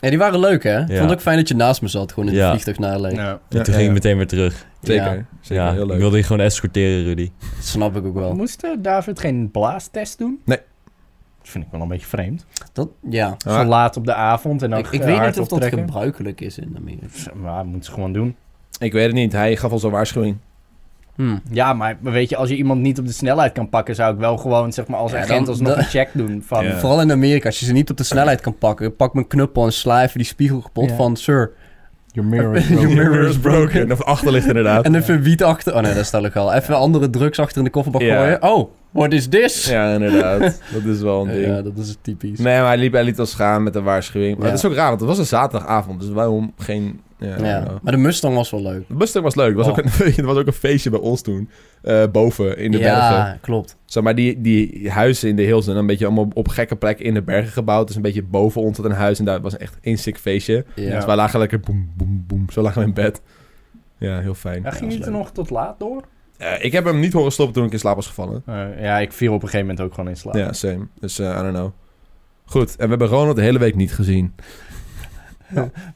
S3: ja, die waren leuk, hè? Ik
S4: Ja.
S3: Vond het ook fijn dat je naast me zat, gewoon in
S4: Ja.
S3: het vliegtuig naar L.A.
S2: Ja.
S4: En
S1: Ja,
S4: toen
S1: ja,
S4: ging
S1: ja.
S4: ik meteen weer terug.
S1: Zeker,
S3: Ja.
S1: zeker,
S4: ja,
S1: heel leuk.
S4: Ik wilde je gewoon escorteren, Rudy.
S3: Dat snap ik ook wel.
S2: Moest eh, David geen blaastest doen?
S1: Nee.
S2: Dat vind ik wel een beetje vreemd.
S3: Dat, ja.
S1: Ah,
S2: Zo laat op de avond en dan
S3: Ik, ik
S2: eh,
S3: weet
S2: hard
S3: niet of dat
S2: optrekken.
S3: gebruikelijk is in Amerika.
S2: Pff, Maar moet ze gewoon doen.
S1: ik weet het niet. Hij gaf ons een waarschuwing.
S3: Hm.
S2: Ja, maar weet je, als je iemand niet op de snelheid kan pakken, zou ik wel gewoon zeg maar als
S3: Ja,
S2: agent
S3: dan-
S2: alsnog
S3: dan-
S2: een check doen van.
S1: Ja.
S3: Eh. Vooral in Amerika, als je ze niet op de snelheid kan pakken, pak mijn knuppel en sla even die spiegel kapot
S2: Ja.
S3: van, sir.
S2: Your mirror is
S3: Your
S1: Your
S3: mirror
S1: mirror
S3: is
S1: is broken.
S3: broken.
S1: Of achterlicht inderdaad.
S3: En even wiet achter. Oh nee, dat is duidelijk al. Even andere drugs achter in de kofferbak
S1: Ja.
S3: gooien. Oh, what is this?
S1: ja, inderdaad. Dat is wel een ding.
S3: Ja, dat is typisch.
S1: Nee, maar hij liep, hij liet ons gaan met een waarschuwing. Maar
S3: Ja.
S1: dat is ook raar, want het was een zaterdagavond. Dus waarom geen... Ja,
S3: Ja.
S1: nou.
S3: Maar de Mustang was wel leuk.
S1: De Mustang was leuk. Het was,
S3: Oh.
S1: ook een, het was ook een feestje bij ons toen. eh, boven, in de
S3: ja,
S1: bergen.
S3: klopt.
S1: Zo, maar die, die huizen in de hills zijn een beetje allemaal op gekke plekken in de bergen gebouwd. Dus een beetje boven ons had een huis. En daar was echt één sick feestje.
S3: Ja.
S1: Dus wij lagen lekker boem, boem, boem. Zo lagen we in bed. Ja, heel fijn.
S2: Ja, ging
S3: Ja,
S2: je
S3: dat is
S2: er
S3: leuk.
S2: nog tot laat door?
S1: Eh, ik heb hem niet horen stoppen toen ik in slaap was gevallen.
S2: Eh, ja, ik viel op een gegeven moment ook gewoon in slaap.
S1: Ja, same. Dus eh, I don't know. Goed, en we hebben Ronald de hele week niet gezien.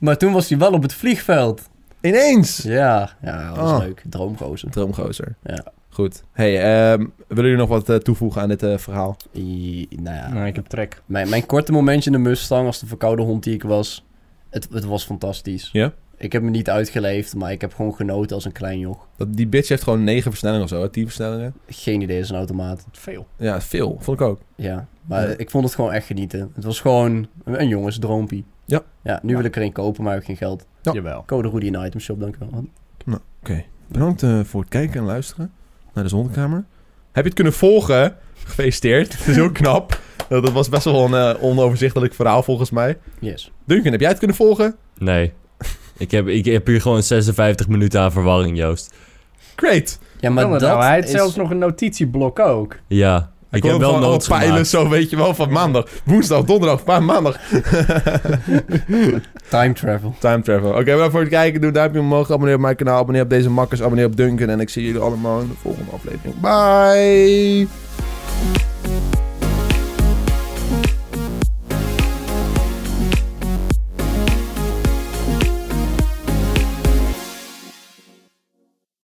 S3: Maar toen was hij wel op het vliegveld.
S1: Ineens!
S3: Ja, ja dat was
S1: Oh.
S3: leuk. Droomgozer.
S1: Droomgozer.
S3: Ja.
S1: Goed. Hey, ehm, willen jullie nog wat eh, toevoegen aan dit eh, verhaal?
S3: I- nou ja.
S2: Nee, ik heb trek.
S3: Mijn, mijn korte momentje in de Mustang als de verkoude hond die ik was. Het, het was fantastisch.
S1: Ja?
S3: Ik heb me niet uitgeleefd, maar ik heb gewoon genoten als een klein joch.
S1: Dat, die bitch heeft gewoon negen versnellingen of zo, hè? tien versnellingen.
S3: Geen idee, is een automaat.
S2: Veel.
S1: Ja, veel. Vond ik ook.
S3: Ja, maar
S1: Ja.
S3: ik vond het gewoon echt genieten. Het was gewoon een jongensdroompie.
S1: Ja.
S3: Ja, nu wil ik er een kopen, maar ik heb geen geld.
S1: Ja.
S2: Jawel.
S3: Code Rudy in de itemshop, dankjewel.
S1: Oké. Bedankt eh, voor het kijken en luisteren naar de zonnekamer. Heb je het kunnen volgen? Gefeliciteerd. Het is heel knap. Eh, Dat was best wel een eh, onoverzichtelijk verhaal volgens mij.
S3: Yes.
S1: Duncan, heb jij het kunnen volgen?
S4: Nee. ik, heb, ik heb hier gewoon 56 minuten aan verwarring, Joost.
S1: Great.
S3: Ja,
S2: Maar
S3: maar dat
S2: nou? Hij heeft
S3: is...
S2: zelfs nog een notitieblok ook.
S4: Ja. Ik
S1: kon
S4: heb
S1: hem
S4: wel
S1: gewoon
S4: notes
S1: alle pijlen
S4: gemaakt.
S1: zo, weet je wel, van maandag. Woensdag, donderdag, pa- maandag.
S3: Time travel.
S1: Time travel. Oké, bedankt voor het kijken. Doe een duimpje omhoog. Abonneer op mijn kanaal. Abonneer op deze makkers. Abonneer op Duncan. En ik zie jullie allemaal in de volgende aflevering. Bye!